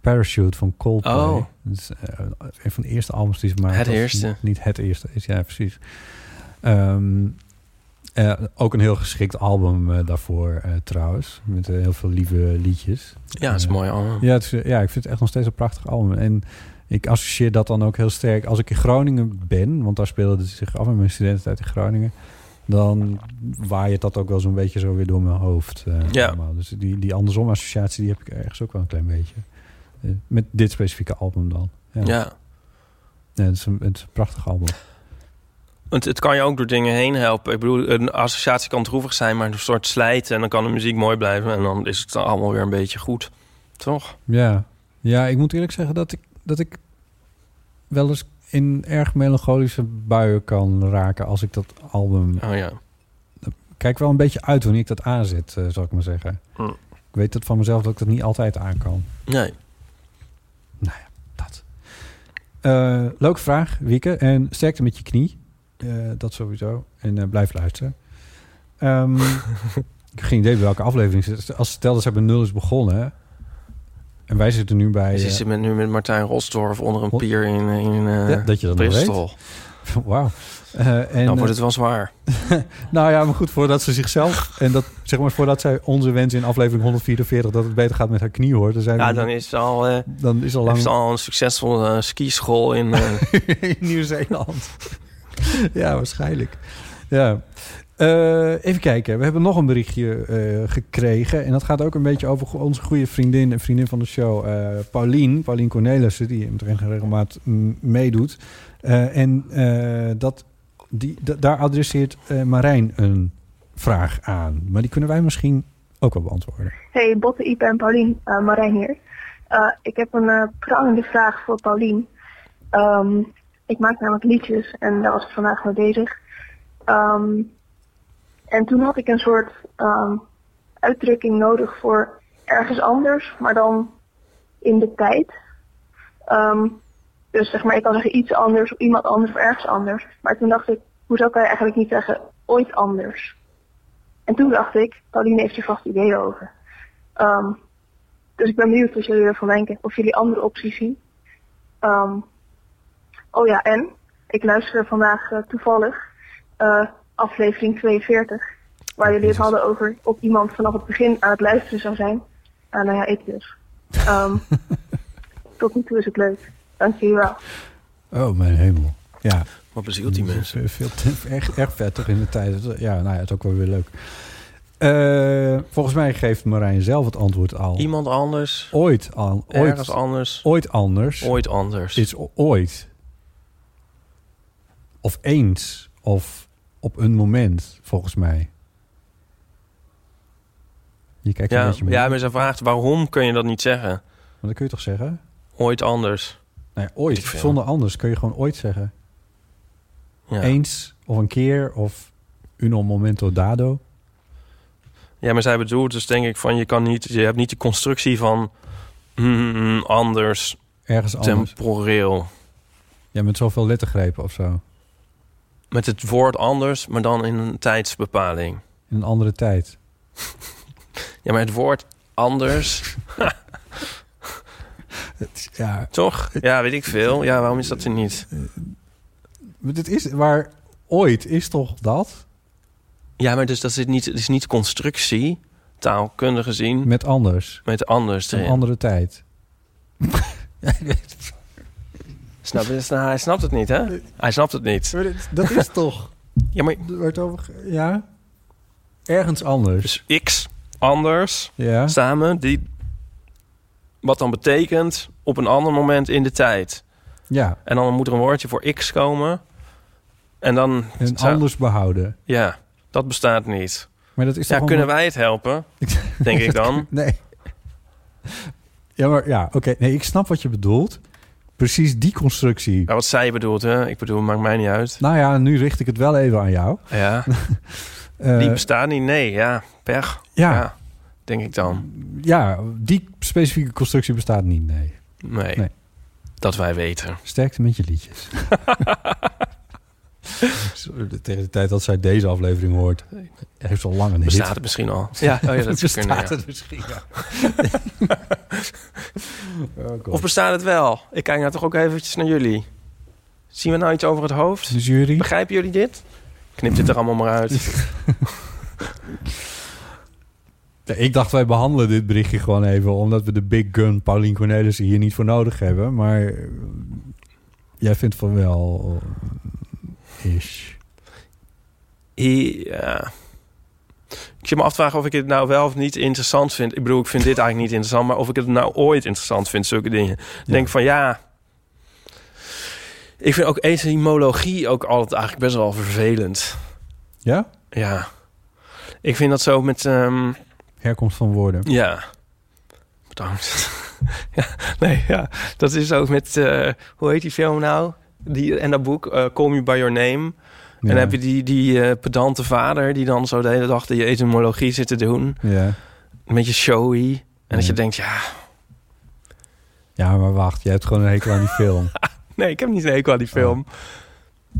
Speaker 2: Parachute van Coldplay.
Speaker 3: Oh.
Speaker 2: Dat is eh, een van de eerste albums die ze maakten.
Speaker 3: Het
Speaker 2: Als
Speaker 3: eerste.
Speaker 2: Niet, niet het eerste is, ja precies. Ehm, eh, ook een heel geschikt album eh, daarvoor eh, trouwens. Met eh, heel veel lieve liedjes.
Speaker 3: Ja, dat is
Speaker 2: Eh,
Speaker 3: mooi Oh. allemaal.
Speaker 2: Ja, het is, ja, ik vind het echt nog steeds een prachtig album. En ik associeer dat dan ook heel sterk. Als ik in Groningen ben, want daar speelde het zich af in mijn studententijd in Groningen. Dan waait dat ook wel zo'n beetje zo weer door mijn hoofd. eh,
Speaker 3: Ja.
Speaker 2: allemaal. Dus die, die andersom associatie die heb ik ergens ook wel een klein beetje. Eh, met dit specifieke album dan. Ja,
Speaker 3: Ja.
Speaker 2: Ja, het, is een, het is een prachtig album.
Speaker 3: Want het kan je ook door dingen heen helpen. Ik bedoel, een associatie kan droevig zijn, maar een soort slijten... en dan kan de muziek mooi blijven en dan is het allemaal weer een beetje goed. Toch?
Speaker 2: Ja. ja, ik moet eerlijk zeggen dat ik, dat ik wel eens in erg melancholische buien kan raken als ik dat album
Speaker 3: Oh ja.
Speaker 2: kijk wel een beetje uit wanneer ik dat aanzet, eh, zal ik maar zeggen.
Speaker 3: Hm.
Speaker 2: Ik weet dat van mezelf dat ik dat niet altijd aan kan.
Speaker 3: Nee.
Speaker 2: Dat. Eh, leuke vraag, Wieke. En sterkte met je knie. Eh, dat sowieso. En eh, blijf luisteren. Ehm, ik heb geen idee bij welke aflevering zit. Als stel dat zij bij nul is begonnen. hè. En wij zitten nu bij...
Speaker 3: Dus je
Speaker 2: eh,
Speaker 3: zit met, nu met Martijn Rosdorf onder een
Speaker 2: Hol-
Speaker 3: pier in, in eh,
Speaker 2: Ja, dat je dat nog
Speaker 3: Bristol. Nou,
Speaker 2: Wauw. Eh, en,
Speaker 3: Dan wordt het wel zwaar.
Speaker 2: nou ja, maar goed, voordat ze zichzelf... en dat, zeg maar, voordat zij onze wens in aflevering 144... dat het beter gaat met haar knie hoort... dan, zijn
Speaker 3: Ja,
Speaker 2: we-
Speaker 3: dan is het al, eh
Speaker 2: dan is al lang
Speaker 3: heeft ze al een succesvolle eh, skischool in... eh,
Speaker 2: in Nieuw-Zeeland. ja, waarschijnlijk. Ja. Eh, even kijken. We hebben nog een berichtje eh, gekregen. En dat gaat ook een beetje over go- onze goede vriendin en vriendin van de show, eh Paulien. Paulien Cornelissen, die hem regelmaat mm, meedoet. Eh, en eh, dat, die, da- daar adresseert eh, Marijn een vraag aan. Maar die kunnen wij misschien ook wel beantwoorden.
Speaker 6: Hey, Botte, Ipe en Paulien, eh, Marijn hier. Eh, ik heb een eh, prangende vraag voor Paulien. Ehm, ik maak namelijk liedjes en daar was ik vandaag mee bezig. Ehm, en toen had ik een soort ehm, uitdrukking nodig voor ergens anders, maar dan in de tijd. Ehm, dus zeg maar, ik kan zeggen iets anders of iemand anders of ergens anders. Maar toen dacht ik, hoezo kan je eigenlijk niet zeggen ooit anders? En toen dacht ik, Pauline heeft er vast ideeën over. Ehm, dus ik ben benieuwd wat jullie ervan denken. Of jullie andere opties zien. Ehm, oh ja, en ik luister vandaag eh, toevallig eh, aflevering 42. Waar jullie het hadden over of iemand vanaf het begin aan het luisteren zou zijn. Ah, nou ja, ik dus. Ehm, tot nu toe is het leuk. Dank jullie wel.
Speaker 2: Oh, mijn hemel. Ja.
Speaker 3: wat bezielt die mensen?
Speaker 2: Dat is, eh, Veel te- erg, erg vettig in de tijd. Dat- Ja, nou ja, het is ook wel weer leuk. Eh, volgens mij geeft Marijn zelf het antwoord al.
Speaker 3: Iemand anders,
Speaker 2: Ooit al.
Speaker 3: ergens
Speaker 2: Ooit,
Speaker 3: anders,
Speaker 2: ooit anders.
Speaker 3: ooit anders.
Speaker 2: Is o- ooit. Of eens. Of op een moment, volgens mij. Je kijkt een
Speaker 3: Ja,
Speaker 2: beetje mee.
Speaker 3: ja, maar ze vraagt waarom kun je dat niet zeggen?
Speaker 2: Maar dat kun je toch zeggen?
Speaker 3: Ooit anders.
Speaker 2: Nou ja, ooit.
Speaker 3: Ik veel.
Speaker 2: Zonder anders kun je gewoon ooit zeggen.
Speaker 3: Ja.
Speaker 2: Eens. Of een keer. Of uno momento dado.
Speaker 3: Ja, maar zij bedoelt dus denk ik van je kan niet, je hebt niet de constructie van mm, mm, anders,
Speaker 2: Ergens anders.
Speaker 3: temporeel.
Speaker 2: Ja, met zoveel lettergrepen of zo.
Speaker 3: Met het woord anders, maar dan in een tijdsbepaling.
Speaker 2: In een andere tijd.
Speaker 3: Ja, maar het woord anders,
Speaker 2: Ja,
Speaker 3: toch? Ja, weet ik veel. Ja, waarom is dat er niet?
Speaker 2: maar dit is waar ooit is toch dat?
Speaker 3: Ja, maar dus dat is niet, het is niet constructie, taalkundig gezien,
Speaker 2: Met anders.
Speaker 3: met anders
Speaker 2: Een
Speaker 3: erin.
Speaker 2: andere tijd. Ja, ik weet het.
Speaker 3: Snap, je? Sna- hij snapt het niet, hè? Hij snapt het niet.
Speaker 2: Maar dit- dat is toch.
Speaker 3: Ja, maar
Speaker 2: er wordt over ge- Ja. Ergens anders.
Speaker 3: dus x, anders,
Speaker 2: Ja.
Speaker 3: samen, die... Wat dan betekent op een ander moment in de tijd.
Speaker 2: Ja.
Speaker 3: En dan moet er een woordje voor x komen. En dan...
Speaker 2: En
Speaker 3: zou-
Speaker 2: anders behouden.
Speaker 3: Ja, dat bestaat niet.
Speaker 2: Maar dat is
Speaker 3: Ja,
Speaker 2: toch
Speaker 3: kunnen
Speaker 2: allemaal-
Speaker 3: wij het helpen? Denk ik dan.
Speaker 2: Nee. Ja, maar ja, oké. Nee, ik snap wat je bedoelt. Precies die constructie.
Speaker 3: Ja, wat zij bedoelt, hè? Ik bedoel, maakt mij niet uit.
Speaker 2: Nou ja, nu richt ik het wel even aan jou.
Speaker 3: Ja,
Speaker 2: Eh,
Speaker 3: die bestaat niet. Nee, ja, pech.
Speaker 2: ja, ja.
Speaker 3: ja denk ik dan.
Speaker 2: die specifieke constructie bestaat niet, nee.
Speaker 3: Nee.
Speaker 2: Nee.
Speaker 3: Dat wij weten.
Speaker 2: Sterkte met je liedjes. Sorry, Tegen de tijd dat zij deze aflevering hoort, heeft ze al lang een hit.
Speaker 3: Bestaat het misschien al? Ja, oh ja dat zou
Speaker 2: Bestaat
Speaker 3: kunnen, ja.
Speaker 2: het misschien, ja. Oh God.
Speaker 3: Of bestaat het wel? Ik kijk nou toch ook eventjes naar jullie. Zien we nou iets over het hoofd?
Speaker 2: de jury?
Speaker 3: Begrijpen jullie dit? Knip dit er allemaal maar uit.
Speaker 2: Ja, Ik dacht, wij behandelen dit berichtje gewoon even... omdat we de big gun Paulien Cornelissen hier niet voor nodig hebben. Maar eh, jij vindt van wel... eh, Ish.
Speaker 3: Ja. Ik zit me af te vragen of ik het nou wel of niet interessant vind. Ik bedoel, ik vind dit eigenlijk niet interessant, maar of ik het nou ooit interessant vind, zulke dingen. Ik
Speaker 2: Ja.
Speaker 3: Denk van ja. Ik vind ook etymologie ook altijd eigenlijk best wel vervelend.
Speaker 2: Ja?
Speaker 3: Ja. Ik vind dat zo met. ehm,
Speaker 2: Herkomst van woorden.
Speaker 3: Ja. Bedankt. ja, nee, ja. Dat is ook met... eh, hoe heet die film nou? Die, en dat boek, eh, Call Me By Your Name. En
Speaker 2: Ja.
Speaker 3: dan heb je die, die eh, pedante vader... die dan zo de hele dag die etymologie zit te doen.
Speaker 2: Ja.
Speaker 3: Een beetje showy. En dat
Speaker 2: Ja.
Speaker 3: je denkt, ja...
Speaker 2: ja, maar wacht. Je hebt gewoon een hekel aan die film.
Speaker 3: Nee, ik heb niet een hekel aan die film.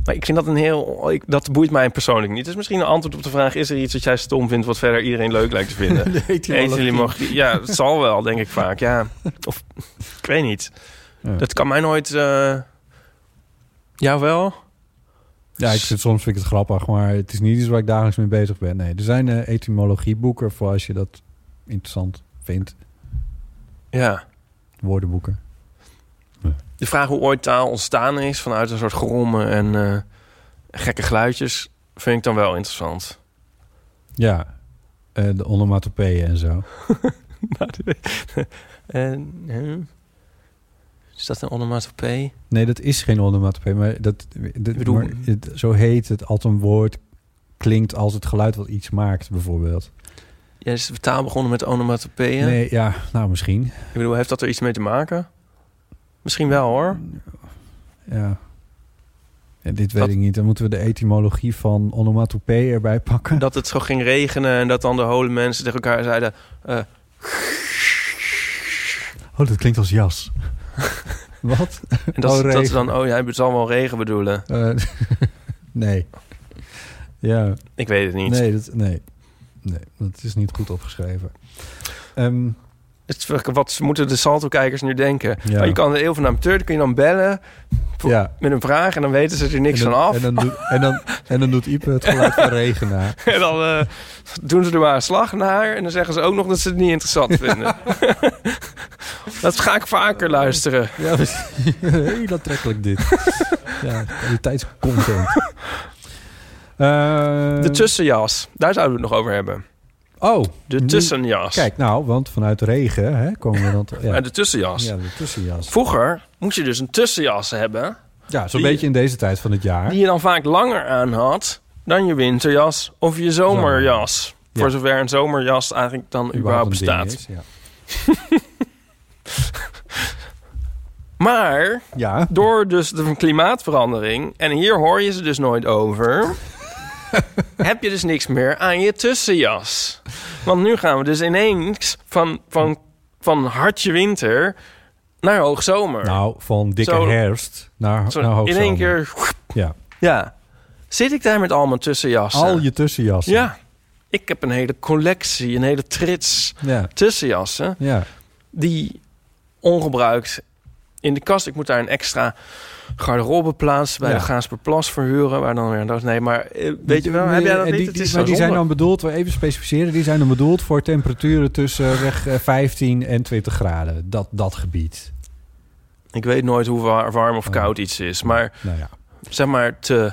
Speaker 3: Maar ik vind dat een heel... Ik, dat boeit mij persoonlijk niet. Dus misschien een antwoord op de vraag... is er iets wat jij stom vindt... wat verder iedereen leuk lijkt te vinden? Etymologie. Ja, het zal wel, denk ik vaak. Ja. Of, ik weet niet.
Speaker 2: Ja.
Speaker 3: Dat kan mij nooit... eh Jawel?
Speaker 2: Ja, ik vind, soms vind ik het grappig, maar het is niet iets waar ik dagelijks mee bezig ben. Nee, er zijn eh, etymologieboeken voor als je dat interessant vindt.
Speaker 3: Ja.
Speaker 2: Woordenboeken.
Speaker 3: De vraag hoe ooit taal ontstaan is vanuit een soort grommen en eh, gekke geluidjes, vind ik dan wel interessant.
Speaker 2: Ja, eh, de onomatopeeën en zo.
Speaker 3: Nou, die weet- en, eh, is dat een onomatopee?
Speaker 2: Nee, dat is geen onomatopee, maar, dat, dat,
Speaker 3: bedoel-
Speaker 2: maar het- zo heet het als een woord klinkt als het geluid wat iets maakt, bijvoorbeeld.
Speaker 3: Ja, is de taal begonnen met onomatopeeën?
Speaker 2: Nee, ja, nou misschien.
Speaker 3: Ik bedoel, heeft dat er iets mee te maken? Misschien wel hoor.
Speaker 2: Ja. En dit weet
Speaker 3: Wat-
Speaker 2: ik niet. Dan moeten we de etymologie van onomatopee erbij pakken.
Speaker 3: Dat het zo ging regenen en dat dan de hole mensen tegen elkaar zeiden... eh,
Speaker 2: Oh, dat klinkt als jas. Wat?
Speaker 3: en dat,
Speaker 2: Oh,
Speaker 3: ze- dat ze
Speaker 2: regen.
Speaker 3: dan, oh ja, het zal wel regen bedoelen.
Speaker 2: Eh, nee. Ja,
Speaker 3: Ik weet het niet.
Speaker 2: nee dat, nee. Nee, dat is niet goed opgeschreven. Ehm,
Speaker 3: Het is wel- wat moeten de Salto-kijkers nu denken?
Speaker 2: Ja.
Speaker 3: Maar je kan de eeuw van de amateur, dan kun je dan bellen Voor-
Speaker 2: ja.
Speaker 3: met een vraag... en dan weten ze er niks
Speaker 2: en dan,
Speaker 3: van af.
Speaker 2: En dan, doet, en, dan, en dan doet Ipe het geluid van regen na.
Speaker 3: En dan eh, doen ze er maar een slag naar. En dan zeggen ze ook nog dat ze het niet interessant vinden. dat ga ik vaker luisteren.
Speaker 2: Ja, precies. heel aantrekkelijk dit. ja, kwaliteitscontent. Eh,
Speaker 3: De tussenjas. Daar zouden we het nog over hebben.
Speaker 2: Oh,
Speaker 3: De
Speaker 2: nu-
Speaker 3: tussenjas.
Speaker 2: Kijk nou, want vanuit regen hè, komen we dan... t- Ja,
Speaker 3: Maar de tussenjas.
Speaker 2: ja, de tussenjas.
Speaker 3: Vroeger moest je dus een tussenjas hebben.
Speaker 2: Ja, zo'n
Speaker 3: Die-
Speaker 2: beetje in deze tijd van het jaar.
Speaker 3: Die je dan vaak langer aan had dan je winterjas of je zomerjas.
Speaker 2: Ja.
Speaker 3: Voor zover een zomerjas eigenlijk dan überhaupt
Speaker 2: een ding
Speaker 3: bestaat.
Speaker 2: is, Ja.
Speaker 3: Maar
Speaker 2: ja,
Speaker 3: door dus de klimaatverandering, en hier hoor je ze dus nooit over, heb je dus niks meer aan je tussenjas. Want nu gaan we dus ineens van, van, van hartje winter naar hoogzomer.
Speaker 2: nou, van dikke
Speaker 3: Zo-
Speaker 2: herfst naar,
Speaker 3: Zo
Speaker 2: naar
Speaker 3: in
Speaker 2: hoogzomer.
Speaker 3: één keer,
Speaker 2: Ja.
Speaker 3: ja, zit ik daar met al mijn tussenjassen.
Speaker 2: Al je tussenjassen.
Speaker 3: Ja, ik heb een hele collectie, een hele trits
Speaker 2: Ja.
Speaker 3: tussenjassen
Speaker 2: ja.
Speaker 3: die ongebruikt in de kast. Ik moet daar een extra garderobe plaatsen bij
Speaker 2: Ja.
Speaker 3: de Gaasperplas verhuren. Waar dan weer dat. Nee, maar eh, weet je wel,
Speaker 2: Nee,
Speaker 3: heb jij dat
Speaker 2: en
Speaker 3: niet?
Speaker 2: Die,
Speaker 3: het
Speaker 2: die-
Speaker 3: is
Speaker 2: maar
Speaker 3: zo
Speaker 2: die zijn
Speaker 3: zonde.
Speaker 2: dan bedoeld, we even specificeren, die zijn dan bedoeld voor temperaturen tussen eh, weg, eh, 15 en 20 graden. Dat, dat gebied.
Speaker 3: Ik weet nooit hoe wa- warm of
Speaker 2: Oh.
Speaker 3: koud iets is. Maar
Speaker 2: Nou ja,
Speaker 3: zeg maar te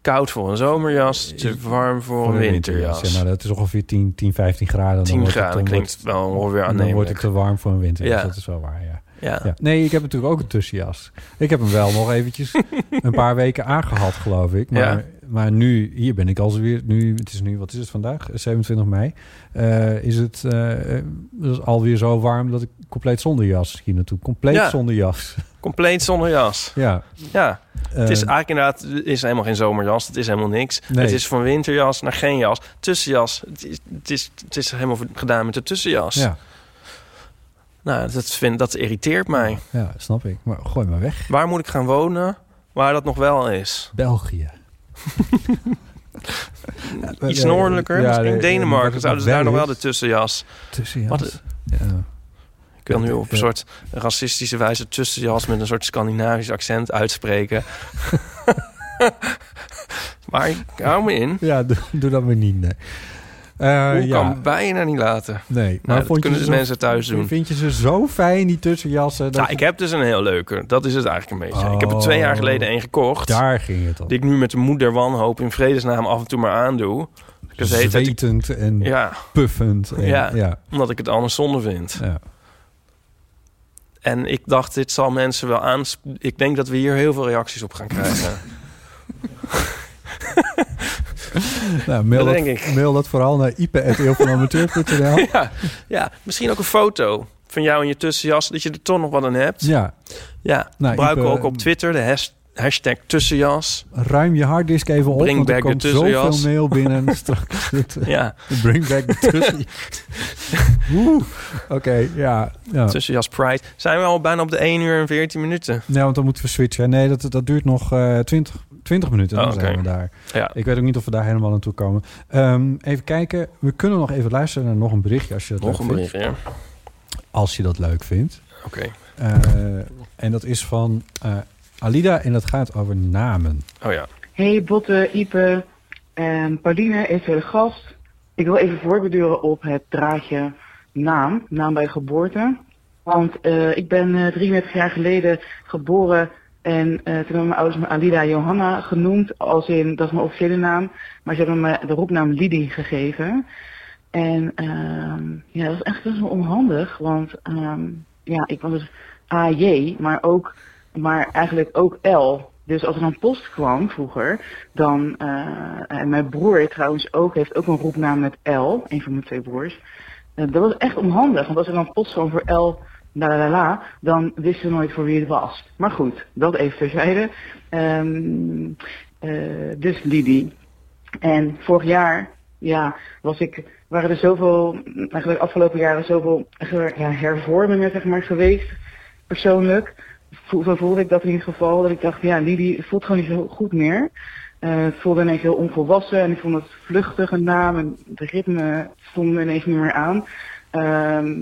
Speaker 3: koud voor een zomerjas,
Speaker 2: Eh,
Speaker 3: te warm voor een winterjas.
Speaker 2: Ja, nou, dat is ongeveer 10, 10 15 graden. Dan
Speaker 3: 10
Speaker 2: wordt het-
Speaker 3: graden
Speaker 2: dan wordt-
Speaker 3: klinkt wel ongeveer
Speaker 2: Dan wordt
Speaker 3: aannemelijk.
Speaker 2: het te warm voor een winterjas.
Speaker 3: Ja.
Speaker 2: Dat is wel waar, ja.
Speaker 3: ja.
Speaker 2: ja. Nee, ik heb natuurlijk ook een tussenjas. Ik heb hem wel nog eventjes een paar weken aangehad, geloof ik. Maar,
Speaker 3: Ja.
Speaker 2: maar nu, hier ben ik alweer... Nu, het is nu, wat is het vandaag? 27 mei. Eh, is het eh, eh, dus alweer zo warm dat ik compleet zonder jas hier naartoe... Compleet
Speaker 3: Ja.
Speaker 2: zonder jas.
Speaker 3: Compleet zonder jas.
Speaker 2: ja.
Speaker 3: Ja, het is
Speaker 2: Eh,
Speaker 3: eigenlijk inderdaad het is helemaal geen zomerjas. Het is helemaal niks.
Speaker 2: Nee.
Speaker 3: Het is van winterjas naar geen jas. Tussenjas. Het is, het is, het is helemaal gedaan met de tussenjas.
Speaker 2: ja,
Speaker 3: Nou, dat, vind, dat irriteert mij.
Speaker 2: ja, snap ik. Maar gooi maar weg.
Speaker 3: Waar moet ik gaan wonen waar dat nog wel is?
Speaker 2: België.
Speaker 3: Iets noordelijker,
Speaker 2: Eh, Ja,
Speaker 3: misschien
Speaker 2: nee,
Speaker 3: Denemarken.
Speaker 2: wat
Speaker 3: Zouden ze
Speaker 2: het
Speaker 3: daar nog
Speaker 2: is.
Speaker 3: wel de tussenjas?
Speaker 2: Tussenjas.
Speaker 3: Wat-
Speaker 2: ja.
Speaker 3: Ik wil nu op
Speaker 2: Ja.
Speaker 3: een soort racistische wijze tussenjas met een soort Scandinavisch accent uitspreken. maar ik hou me in.
Speaker 2: Ja, doe, doe dat maar niet. Nee. Eh,
Speaker 3: Hoe
Speaker 2: ja,
Speaker 3: kan het bijna niet laten?
Speaker 2: nee.
Speaker 3: Nou, dat kunnen
Speaker 2: ze
Speaker 3: dus mensen thuis doen.
Speaker 2: Vind je ze zo fijn, die tussenjassen? Dat
Speaker 3: Nou, ik heb dus een heel leuke. Dat is het eigenlijk een beetje. Ik heb er twee jaar geleden één gekocht.
Speaker 2: Oh. Daar ging het om.
Speaker 3: Die ik nu met de moeder wanhoop in vredesnaam af en toe maar aandoe. Dus het heet dat ik-
Speaker 2: Zwetend en
Speaker 3: ja,
Speaker 2: puffend. En, ja.
Speaker 3: Ja.
Speaker 2: Ja,
Speaker 3: omdat ik het anders zonde vind.
Speaker 2: ja.
Speaker 3: En ik dacht, dit zal mensen wel aan. Ik denk dat we hier heel veel reacties op gaan krijgen.
Speaker 2: Nou, mail,
Speaker 3: Dat
Speaker 2: dat,
Speaker 3: denk
Speaker 2: mail dat vooral naar ipe.eeuwvanamateur.nl.
Speaker 3: ja, ja, misschien ook een foto van jou in je tussenjas, dat je er toch nog wat aan hebt.
Speaker 2: ja,
Speaker 3: Ja,
Speaker 2: Nou,
Speaker 3: gebruik
Speaker 2: Ipe,
Speaker 3: ook op Twitter de has- hashtag tussenjas.
Speaker 2: ruim je harddisk even op,
Speaker 3: Bring
Speaker 2: want er
Speaker 3: back de
Speaker 2: komt
Speaker 3: tussenjas.
Speaker 2: zoveel mail binnen straks.
Speaker 3: Ja,
Speaker 2: Bring back the tussenjas. Oeh, Oké, ja. ja.
Speaker 3: tussenjas Pride. Zijn we al bijna op de 1 uur en 14 minuten?
Speaker 2: Nee, want dan moeten we switchen. Nee, dat, dat duurt nog eh 20, 20 minuten. Dan
Speaker 3: Oh,
Speaker 2: zijn we
Speaker 3: oké.
Speaker 2: daar.
Speaker 3: Ja,
Speaker 2: Ik weet ook niet of we daar helemaal naartoe komen. Ehm, even kijken. We kunnen nog even luisteren naar nog een berichtje als je dat
Speaker 3: nog een
Speaker 2: leuk
Speaker 3: bericht. Ja.
Speaker 2: vindt. Als je dat leuk vindt.
Speaker 3: Oké.
Speaker 2: Eh, en dat is van eh, Alida en dat gaat over namen.
Speaker 3: Oh ja.
Speaker 6: Hey Botte, Ipe, en Pauline is de gast. Ik wil even voorbeduren op het draadje naam, naam bij geboorte. Want eh, ik ben eh, 33 jaar geleden geboren en eh, toen hebben mijn ouders me Alida Johanna genoemd, als in, dat is mijn officiële naam, maar ze hebben me de roepnaam Lidi gegeven. En ehm, ja, dat was echt best wel onhandig, want ehm, ja, ik was dus AJ, maar ook, maar eigenlijk ook L. Dus als er dan post kwam vroeger, dan, eh, en mijn broer trouwens ook, heeft ook een roepnaam met L, een van mijn twee broers. Eh, dat was echt onhandig, want als er dan post kwam voor L, la la la la, dan wisten we nooit voor wie het was. Maar goed, dat even terzijde. Ehm, eh, dus Lidi. En vorig jaar, ja, was ik, waren er zoveel, eigenlijk afgelopen jaren zoveel ja, hervormingen zeg maar, geweest, persoonlijk. Voel- Zo voelde ik dat in ieder geval, dat ik dacht, ja, Lili het voelt gewoon niet zo goed meer. Eh, het voelde ineens heel onvolwassen en ik vond het vluchtige naam en de ritme stond me ineens niet meer aan. Ehm,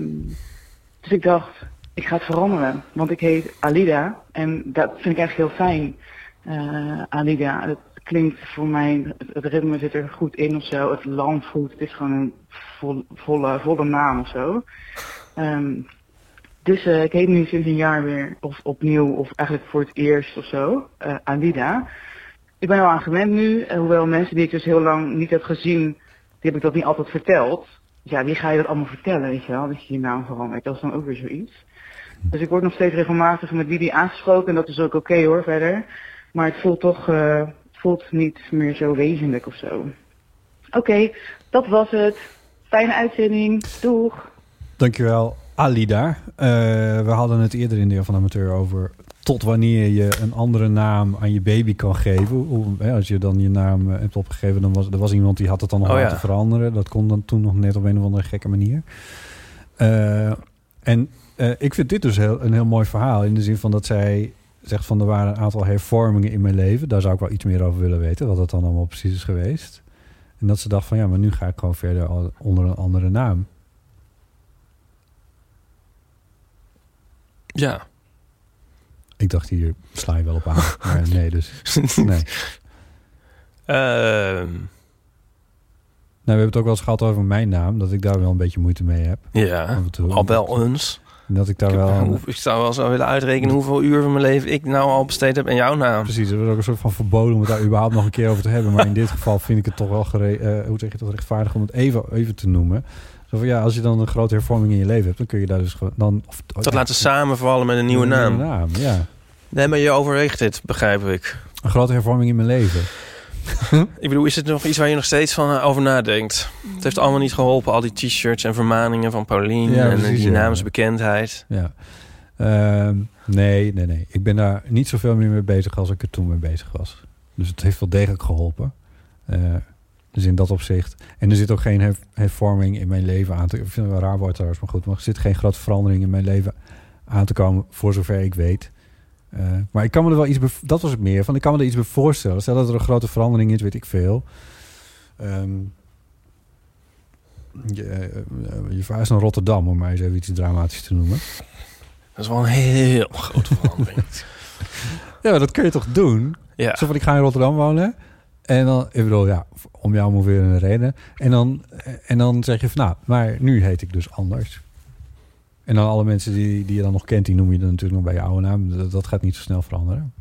Speaker 6: dus ik dacht, ik ga het veranderen, want ik heet Alida en dat vind ik eigenlijk heel fijn. Eh, Alida, het klinkt voor mij, het- het ritme zit er goed in of zo, het land goed, het is gewoon een vol- volle, volle naam of zo. Ehm, dus eh, ik heet nu sinds een jaar weer, of opnieuw, of eigenlijk voor het eerst of zo, eh Alida. Ik ben er wel aan gewend nu, eh, hoewel mensen die ik dus heel lang niet heb gezien, die heb ik dat niet altijd verteld. Dus ja, wie ga je dat allemaal vertellen, weet je wel, dat je je naam verandert. Dat is dan ook weer zoiets. Dus ik word nog steeds regelmatig met Didi aangesproken en dat is ook oké hoor, verder. Maar het voelt toch, eh, het voelt niet meer zo wezenlijk of zo. Oké, dat was het. Fijne uitzending. Doeg!
Speaker 2: Dankjewel, Alida. Eh, we hadden het eerder in Deel van Amateur over tot wanneer je een andere naam aan je baby kan geven. Hoe- hè, als je dan je naam eh, hebt opgegeven, dan was er was iemand die had het dan nog
Speaker 3: Oh,
Speaker 2: laten
Speaker 3: ja.
Speaker 2: veranderen. Dat kon dan toen nog net op een of andere gekke manier. Eh, en eh, ik vind dit dus heel, een heel mooi verhaal in de zin van dat zij zegt van er waren een aantal hervormingen in mijn leven. Daar zou ik wel iets meer over willen weten, wat dat dan allemaal precies is geweest. En dat ze dacht van ja, maar nu ga ik gewoon verder al- onder een andere naam.
Speaker 3: Ja.
Speaker 2: Ik dacht, hier sla je wel op aan. Maar nee, dus. Nee. Nou,
Speaker 3: Ehm,
Speaker 2: we hebben het ook wel eens gehad over mijn naam. Dat ik daar wel een beetje moeite mee heb.
Speaker 3: ja,
Speaker 2: Af en toe.
Speaker 3: al wel eens.
Speaker 2: En dat ik daar wel...
Speaker 3: Hoe- Ik zou wel zo willen uitrekenen hoeveel uur van mijn leven ik nou al besteed heb aan jouw naam.
Speaker 2: Precies, het wordt ook een soort van verboden om het daar überhaupt nog een keer over te hebben. Maar in dit geval vind ik het toch wel gere- eh, hoe zeg je dat, rechtvaardig om het even, even te noemen. Zo van, ja, als je dan een grote hervorming in je leven hebt, dan kun je daar dus gewoon... Dan, of,
Speaker 3: Dat laten samenvallen met een nieuwe naam.
Speaker 2: ja.
Speaker 3: Nee, maar je overweegt dit, begrijp ik.
Speaker 2: Een grote hervorming in mijn leven.
Speaker 3: Ik bedoel, is het nog iets waar je nog steeds van eh, over nadenkt? Het heeft allemaal niet geholpen, al die t-shirts en vermaningen van Paulien
Speaker 2: Ja,
Speaker 3: en eh,
Speaker 2: precies,
Speaker 3: die
Speaker 2: ja.
Speaker 3: naamsbekendheid.
Speaker 2: Ja. Ehm, nee, nee, nee. Ik ben daar niet zoveel meer mee bezig als ik er toen mee bezig was. Dus het heeft wel degelijk geholpen. Eh, dus in dat opzicht. En er zit ook geen her- hervorming in mijn leven aan te Ik vind het wel een raar woord trouwens, maar goed. Maar er zit geen grote verandering in mijn leven aan te komen, voor zover ik weet. Eh, maar ik kan me er wel iets... bev- Dat was het meer van, ik kan me er iets bij voorstellen. Stel dat er een grote verandering is, weet ik veel. Ehm, je, eh, je verhuist naar Rotterdam, om maar eens even iets dramatisch te noemen.
Speaker 3: Dat is wel een heel grote verandering.
Speaker 2: Ja, maar dat kun je toch doen?
Speaker 3: Ja.
Speaker 2: Zo van, ik ga in Rotterdam wonen. En dan, ik bedoel, ja, om jou ongeveer een reden. En dan, en dan zeg je van, nou, maar nu heet ik dus anders. En dan alle mensen die, die je dan nog kent, die noem je dan natuurlijk nog bij je oude naam. Dat, dat gaat niet zo snel veranderen.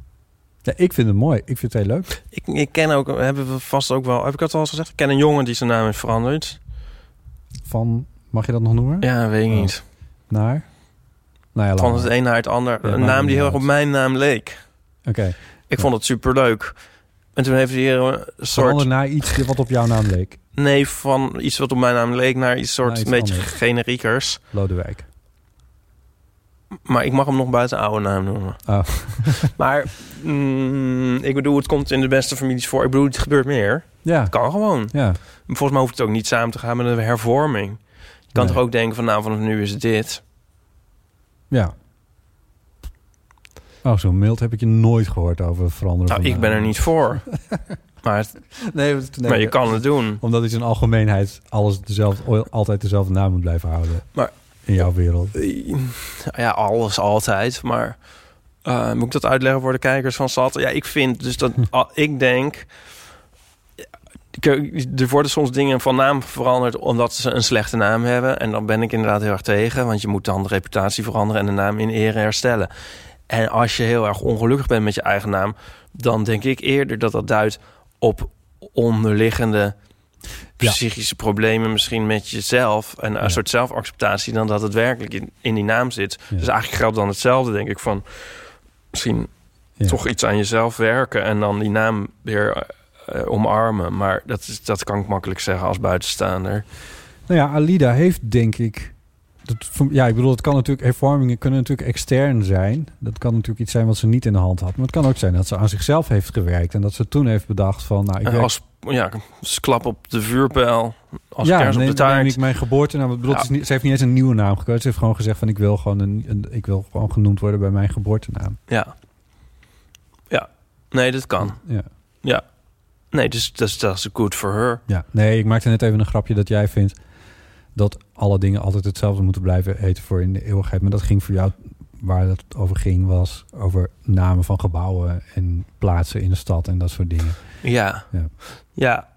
Speaker 2: Ja, ik vind het mooi. Ik vind het heel leuk.
Speaker 3: Ik, ik ken ook, hebben we vast ook wel, heb ik dat al eens gezegd? Ik ken een jongen die zijn naam heeft veranderd.
Speaker 2: Van, mag je dat nog noemen?
Speaker 3: Ja, weet ik
Speaker 2: Oh.
Speaker 3: niet.
Speaker 2: Naar? Nou ja, laat
Speaker 3: Van het e-
Speaker 2: maar.
Speaker 3: een naar het ander.
Speaker 2: Ja,
Speaker 3: een
Speaker 2: maar
Speaker 3: naam die heel erg op
Speaker 2: inderdaad.
Speaker 3: mijn naam leek.
Speaker 2: Oké.
Speaker 3: Ik vond het superleuk. En toen heeft hij hier een soort
Speaker 2: Verander naar iets wat op jouw naam leek.
Speaker 3: nee van iets wat op mijn naam leek naar iets soort
Speaker 2: Naar iets
Speaker 3: beetje
Speaker 2: anders.
Speaker 3: generiekers.
Speaker 2: Lodewijk.
Speaker 3: Maar ik mag hem nog buiten oude naam noemen.
Speaker 2: Oh.
Speaker 3: maar mm, ik bedoel, het komt in de beste families voor. Ik bedoel, het gebeurt meer.
Speaker 2: Ja,
Speaker 3: Het kan gewoon.
Speaker 2: ja.
Speaker 3: Volgens mij hoeft het ook niet samen te gaan met een hervorming. Je kan
Speaker 2: Nee.
Speaker 3: toch ook denken van nou, vanaf nu is het dit.
Speaker 2: Ja. Oh, zo mild heb ik je nooit gehoord over veranderen.
Speaker 3: Nou,
Speaker 2: van
Speaker 3: ik ben er
Speaker 2: naam.
Speaker 3: niet voor. maar, het-
Speaker 2: Nee,
Speaker 3: maar je kan het doen.
Speaker 2: Omdat in zijn algemeenheid alles dezelfde, altijd dezelfde naam moet blijven houden.
Speaker 3: Maar-
Speaker 2: In jouw wereld.
Speaker 3: Eh, Ja, alles altijd. Maar Eh, moet ik dat uitleggen voor de kijkers van Sat? Ja, ik vind dus dat ah, ik denk. Ik- eh, Er worden soms dingen van naam veranderd omdat ze een slechte naam hebben. En dan ben ik inderdaad heel erg tegen, want je moet dan de reputatie veranderen en de naam in ere herstellen. En als je heel erg ongelukkig bent met je eigen naam, dan denk ik eerder dat dat duidt op onderliggende
Speaker 2: Ja.
Speaker 3: psychische problemen, misschien met jezelf en een
Speaker 2: Ja.
Speaker 3: soort zelfacceptatie, dan dat het werkelijk in, in die naam zit.
Speaker 2: Ja.
Speaker 3: Dus eigenlijk geldt dan hetzelfde, denk ik, van misschien
Speaker 2: Ja.
Speaker 3: toch iets aan jezelf werken en dan die naam weer eh, eh, omarmen. Maar dat, is, dat kan ik makkelijk zeggen als buitenstaander.
Speaker 2: Nou ja, Alida heeft denk ik. Dat, ja, ik bedoel, het kan natuurlijk. Hervormingen kunnen natuurlijk extern zijn. Dat kan natuurlijk iets zijn wat ze niet in de hand had. Maar het kan ook zijn dat ze aan zichzelf heeft gewerkt. En dat ze toen heeft bedacht van. Nou, ik
Speaker 3: En
Speaker 2: werk-
Speaker 3: Eh, als, ja, als klap op de vuurpijl, als
Speaker 2: ja,
Speaker 3: kers op de
Speaker 2: neem- neem
Speaker 3: taart.
Speaker 2: ik mijn geboortenaam. Ik bedoel,
Speaker 3: Ja.
Speaker 2: het is niet, ze heeft niet eens een nieuwe naam gekozen. Ze heeft gewoon gezegd van ik wil gewoon, een, een- ik wil gewoon genoemd worden bij mijn geboortenaam.
Speaker 3: Ja. ja, nee, dat kan.
Speaker 2: Ja.
Speaker 3: Ja. Nee, dus dat is- dat is good for her.
Speaker 2: ja. Nee, ik maakte net even een grapje dat jij vindt dat alle dingen altijd hetzelfde moeten blijven heten voor in de eeuwigheid. Maar dat ging voor jou, waar het over ging, was over namen van gebouwen en plaatsen in de stad en dat soort dingen.
Speaker 3: Ja.
Speaker 2: Ja.
Speaker 3: ja.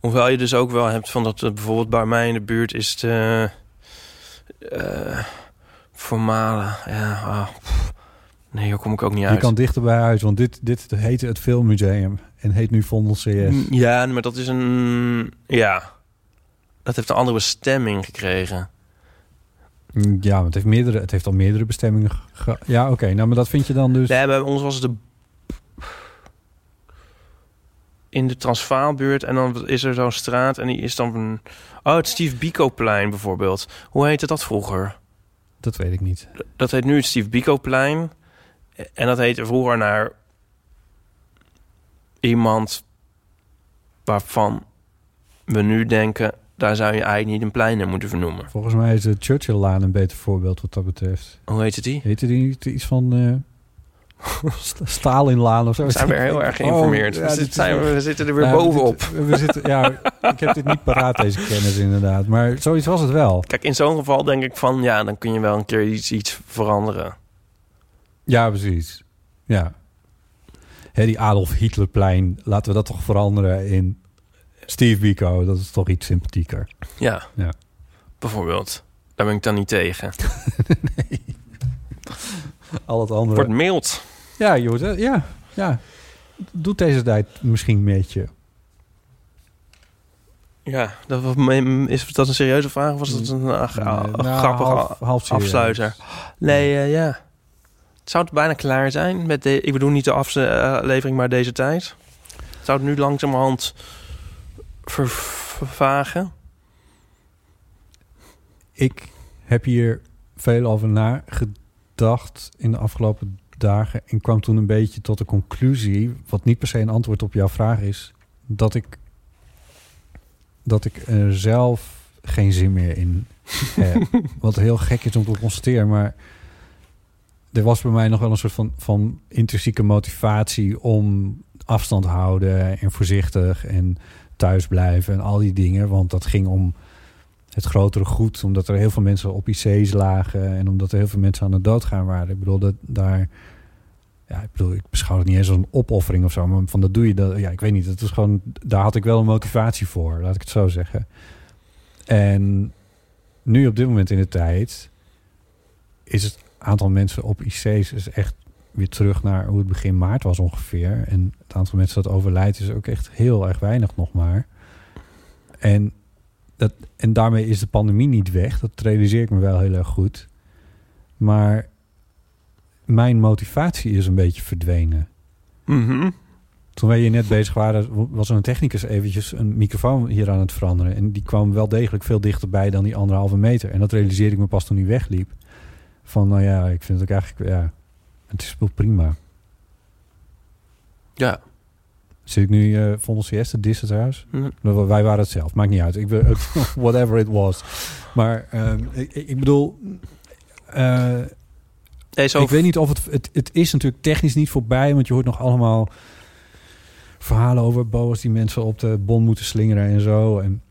Speaker 3: Hoewel je dus ook wel hebt van dat eh, bijvoorbeeld bij mij in de buurt is het eh eh, formale. Ja, ah, pff. nee, hier kom ik ook niet
Speaker 2: Je
Speaker 3: uit.
Speaker 2: kan dichter bij huis, want dit, dit heette het Filmmuseum en heet nu Vondel CS.
Speaker 3: Mm, Ja, maar dat is een. Ja. Dat heeft een andere bestemming gekregen.
Speaker 2: Mm, Ja, want het heeft, meerdere, het heeft al meerdere bestemmingen. ge- ge- ja, oké. nou, maar dat vind je dan dus...
Speaker 3: Nee, bij ons was het de. In de Transvaalbuurt. En dan is er zo'n straat. En die is dan. Een... Oh, het Steve Biko-plein bijvoorbeeld. Hoe heette dat vroeger?
Speaker 2: Dat weet ik niet.
Speaker 3: Dat heet nu het Steve Biko-plein. En dat heette vroeger naar iemand waarvan we nu denken... daar zou je eigenlijk niet een plein naar moeten vernoemen.
Speaker 2: Volgens mij is de Churchill-laan een beter voorbeeld wat dat betreft.
Speaker 3: Hoe heette die?
Speaker 2: Heette die niet iets van eh, St- Stalin-laan of zo?
Speaker 3: We zijn weer heel erg geïnformeerd.
Speaker 2: Oh, ja,
Speaker 3: we,
Speaker 2: dit is
Speaker 3: zitten, zijn-
Speaker 2: echt-
Speaker 3: we zitten er weer
Speaker 2: Nou, we
Speaker 3: bovenop.
Speaker 2: zitten- we zitten, ja, ik heb dit niet paraat, deze kennis inderdaad. Maar zoiets was het wel.
Speaker 3: Kijk, in zo'n geval denk ik van... ja, dan kun je wel een keer iets, iets veranderen.
Speaker 2: Ja, precies. Ja. Hè, die Adolf Hitlerplein, laten we dat toch veranderen in Steve Biko. Dat is toch iets sympathieker.
Speaker 3: Ja.
Speaker 2: Ja.
Speaker 3: Bijvoorbeeld. Daar ben ik dan niet tegen.
Speaker 2: Al het andere.
Speaker 3: Wordt mild.
Speaker 2: Ja, joh, dat- ja, ja. Doet deze tijd misschien met je.
Speaker 3: Ja, dat, was mijn- is dat een serieuze vraag? Of was dat een ah, ah,
Speaker 2: Mm. Nee, nou,
Speaker 3: grappige
Speaker 2: half- half serieus.
Speaker 3: afsluiter? Nee, eh, ja. Het zou het bijna klaar zijn met de. Ik bedoel niet de eh, aflevering, maar deze tijd. Zou het nu langzamerhand ver- vervagen?
Speaker 2: Ik heb hier veel over nagedacht in de afgelopen dagen. En kwam toen een beetje tot de conclusie, wat niet per se een antwoord op jouw vraag is, dat ik, dat ik er zelf geen zin meer in heb. Wat heel gek is om te constateren, maar er was bij mij nog wel een soort van, van intrinsieke motivatie om afstand houden en voorzichtig en thuis blijven en al die dingen. Want dat ging om het grotere goed. Omdat er heel veel mensen op IC's lagen. En omdat er heel veel mensen aan de dood gaan waren. Ik bedoel, dat daar... Ja, ik bedoel, ik beschouw het niet eens als een opoffering of zo. Maar van dat doe je... Dat, ja, ik weet niet. Dat is gewoon, daar had ik wel een motivatie voor. Laat ik het zo zeggen. En nu op dit moment in de tijd... is het aantal mensen op IC's is echt weer terug naar hoe het begin maart was ongeveer. En het aantal mensen dat overlijdt is ook echt heel erg weinig nog maar. En dat, en daarmee is de pandemie niet weg. Dat realiseer ik me wel heel erg goed. Maar mijn motivatie is een beetje verdwenen.
Speaker 3: Mhm.
Speaker 2: Toen wij hier net bezig waren, was een technicus eventjes een microfoon hier aan het veranderen. En die kwam wel degelijk veel dichterbij dan die anderhalve meter. En dat realiseerde ik me pas toen hij wegliep. Van, nou ja, ik vind het ook eigenlijk, ja, het is wel prima.
Speaker 3: Ja.
Speaker 2: Zit ik nu eh Vondel CS te dissen trouwens?
Speaker 3: Mhm.
Speaker 2: Nou, Wij waren het zelf, maakt niet uit. Ik wil, whatever it was. Maar ehm, ik, ik bedoel, eh,
Speaker 3: Nee, zo
Speaker 2: ik weet niet of het, het... Het is natuurlijk technisch niet voorbij, want je hoort nog allemaal verhalen over boa's die mensen op de bon moeten slingeren en zo. En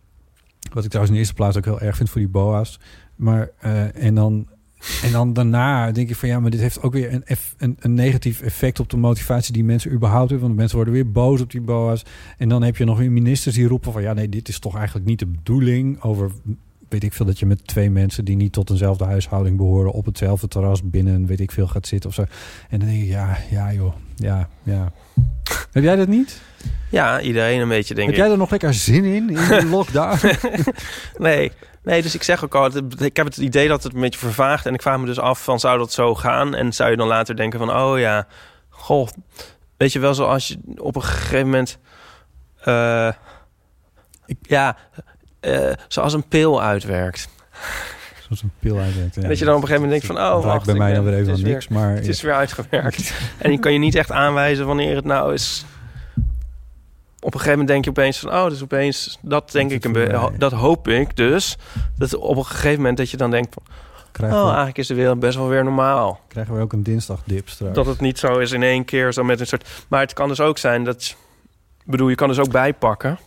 Speaker 2: wat ik trouwens in de eerste plaats ook heel erg vind voor die boa's. Maar, eh, en dan En dan daarna denk ik van ja, maar dit heeft ook weer een, eff- een, een negatief effect op de motivatie die mensen überhaupt hebben. Want mensen worden weer boos op die BOA's. En dan heb je nog weer ministers die roepen van ja, nee, dit is toch eigenlijk niet de bedoeling over. Weet ik veel dat je met twee mensen die niet tot eenzelfde huishouding behoren op hetzelfde terras binnen, weet ik veel, gaat zitten of zo. En dan denk ik, ja, ja, joh, ja, ja. Heb jij dat niet?
Speaker 3: Ja, iedereen een beetje, denk
Speaker 2: heb
Speaker 3: ik.
Speaker 2: jij er nog lekker zin in, in de lockdown?
Speaker 3: Nee, nee, dus ik zeg ook al, het- ik heb het idee dat het een beetje vervaagt. En ik vraag me dus af van, zou dat zo gaan? En zou je dan later denken van, oh ja, goh. Weet je wel, zoals je op een gegeven moment... eh, ja, eh, zoals een pil uitwerkt.
Speaker 2: Zoals een pil uitwerkt. ja.
Speaker 3: En dat je dan op een gegeven moment denkt van,
Speaker 2: Raakt
Speaker 3: oh, wacht.
Speaker 2: bij
Speaker 3: ik
Speaker 2: mij
Speaker 3: ben-
Speaker 2: dan weer even
Speaker 3: het is
Speaker 2: aan niks, maar
Speaker 3: Het
Speaker 2: ja.
Speaker 3: is weer uitgewerkt. en je kan je niet echt aanwijzen wanneer het nou is... Op een gegeven moment denk je opeens van, oh, dus opeens... Dat denk ik, een be- ho- dat hoop ik dus. Dat op een gegeven moment dat je dan denkt van...
Speaker 2: Krijgen
Speaker 3: oh,
Speaker 2: we-
Speaker 3: eigenlijk is de wereld best wel weer normaal.
Speaker 2: Krijgen we ook een dinsdagdip straks.
Speaker 3: Dat het niet zo is in één keer, zo met een soort... Maar het kan dus ook zijn dat... Ik bedoel, je kan dus ook bijpakken.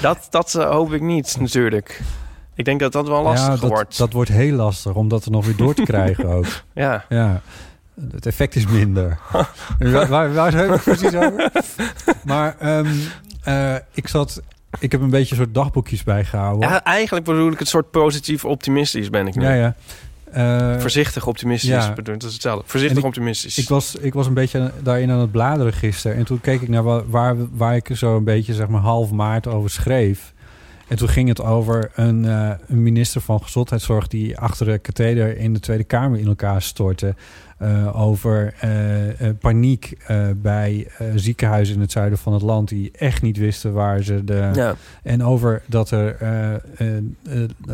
Speaker 3: dat, dat eh, hoop ik niet, natuurlijk. Ik denk dat dat wel lastig
Speaker 2: dat,
Speaker 3: wordt.
Speaker 2: dat wordt heel lastig om dat er nog weer door te krijgen ook.
Speaker 3: Ja.
Speaker 2: ja. Het effect is minder. waar, waar, waar zijn we precies over? Maar ehm, eh, ik zat... Ik heb een beetje een soort dagboekjes bijgehouden.
Speaker 3: Ja, eigenlijk bedoel ik het soort positief optimistisch ben ik nu.
Speaker 2: ja. ja. Eh,
Speaker 3: Voorzichtig optimistisch,
Speaker 2: ja.
Speaker 3: bedoel, dat is hetzelfde. Voorzichtig
Speaker 2: En ik-
Speaker 3: optimistisch.
Speaker 2: Ik was, ik was een beetje daarin aan het bladeren gisteren. En toen keek ik naar wa- waar, waar ik zo een beetje zeg maar half maart over schreef. En toen ging het over een, eh, een minister van Gezondheidszorg... die achter de katheder in de Tweede Kamer in elkaar stortte. eh, over eh, eh, paniek eh, bij eh, ziekenhuizen in het zuiden van het land... die echt niet wisten waar ze de...
Speaker 3: Ja.
Speaker 2: En over dat er eh, eh, eh,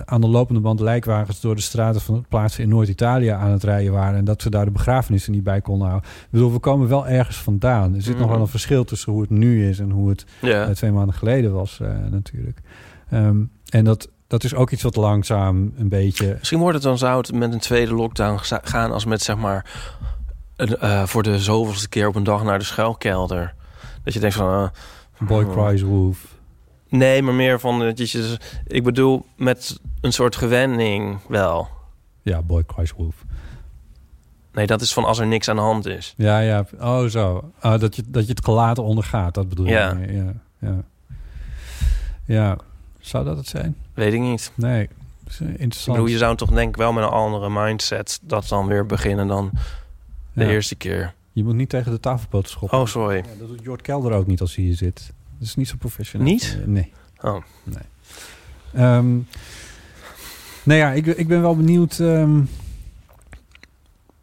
Speaker 2: aan de lopende band lijkwagens door de straten van plaatsen in Noord-Italië aan het rijden waren. En dat ze daar de begrafenissen niet bij konden houden. Ik bedoel, we komen wel ergens vandaan. Er zit nog
Speaker 3: Mhm.
Speaker 2: wel een verschil tussen hoe het nu is en hoe het
Speaker 3: Ja.
Speaker 2: eh, twee maanden geleden was, eh, natuurlijk. Ehm, en dat, dat is ook iets wat langzaam een beetje.
Speaker 3: Misschien wordt het dan zou het met een tweede lockdown geza- gaan als met zeg maar een, eh, voor de zoveelste keer op een dag naar de schuilkelder. Dat je denkt van eh,
Speaker 2: Boy cries wolf.
Speaker 3: Nee, maar meer van eh, dat je. Ik bedoel met een soort gewenning wel.
Speaker 2: Ja, boy cries wolf.
Speaker 3: Nee, dat is van als er niks aan de hand is.
Speaker 2: Ja, ja. Oh, zo. Ah, dat, je, dat je het gelaten ondergaat, dat bedoel je.
Speaker 3: Ja.
Speaker 2: ja, ja. Ja, zou dat het zijn?
Speaker 3: Weet ik niet.
Speaker 2: Nee, dat is eh,
Speaker 3: Ik
Speaker 2: interessant.
Speaker 3: bedoel, je zou toch denk ik wel met een andere mindset dat dan weer beginnen dan de
Speaker 2: Ja.
Speaker 3: eerste keer.
Speaker 2: Je moet niet tegen de tafelpoten schoppen.
Speaker 3: Oh, sorry.
Speaker 2: Ja, dat doet Jord Kelder ook niet als hij hier zit. Dat is niet zo professioneel.
Speaker 3: Niet?
Speaker 2: Eh, nee.
Speaker 3: Oh.
Speaker 2: Nee. Ehm, nou ja, ik, ik ben wel benieuwd... ehm,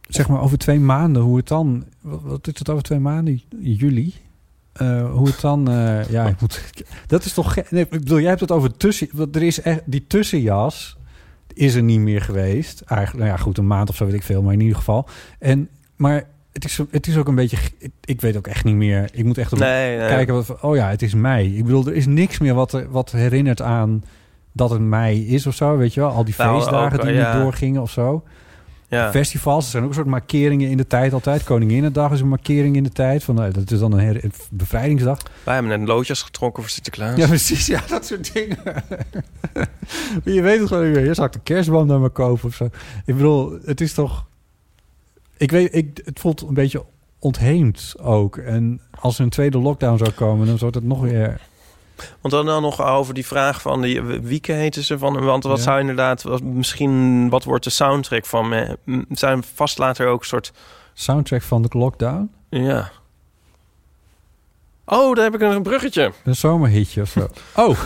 Speaker 2: zeg maar over twee maanden, hoe het dan... Wat, wat is het over twee maanden? Juli? Eh, hoe het dan... eh, ja, ik moet, dat is toch... ge- Nee, ik bedoel, jij hebt het over tussen... want Er is echt, die tussenjas is er niet meer geweest. Eigenlijk, nou ja, goed, een maand of zo weet ik veel. Maar in ieder geval... En, maar het is, het is ook een beetje... ge- Ik, ik weet ook echt niet meer. Ik moet echt op-
Speaker 3: Nee, nee.
Speaker 2: kijken... Wat, oh ja, het is mei. Ik bedoel, er is niks meer wat, er- wat herinnert aan... dat het mei is of zo, weet je wel? Al die
Speaker 3: Nou,
Speaker 2: feestdagen
Speaker 3: ook,
Speaker 2: die
Speaker 3: ja.
Speaker 2: niet doorgingen of zo.
Speaker 3: Ja.
Speaker 2: Festivals, er zijn ook een soort markeringen in de tijd altijd. Koninginnedag is een markering in de tijd. Van, nou, dat is dan een her- een bevrijdingsdag.
Speaker 3: Wij hebben net loodjes getrokken voor Sinterklaas.
Speaker 2: Ja, precies. Ja, dat soort dingen. Maar je weet het gewoon niet meer. Je zou ik de kerstboom dan maar kopen of zo. Ik bedoel, het is toch... Ik weet, ik, het voelt een beetje ontheemd ook. En als er een tweede lockdown zou komen, dan zou het nog weer...
Speaker 3: Want dan, dan nog over die vraag van die, wieken heten ze van. Want wat
Speaker 2: Ja.
Speaker 3: zou inderdaad, wat, misschien wat wordt de soundtrack van? me- m- Zijn vast later ook een soort,
Speaker 2: Soundtrack van de lockdown?
Speaker 3: ja. Oh, daar heb ik een bruggetje.
Speaker 2: Een zomerhitje of zo? Oh,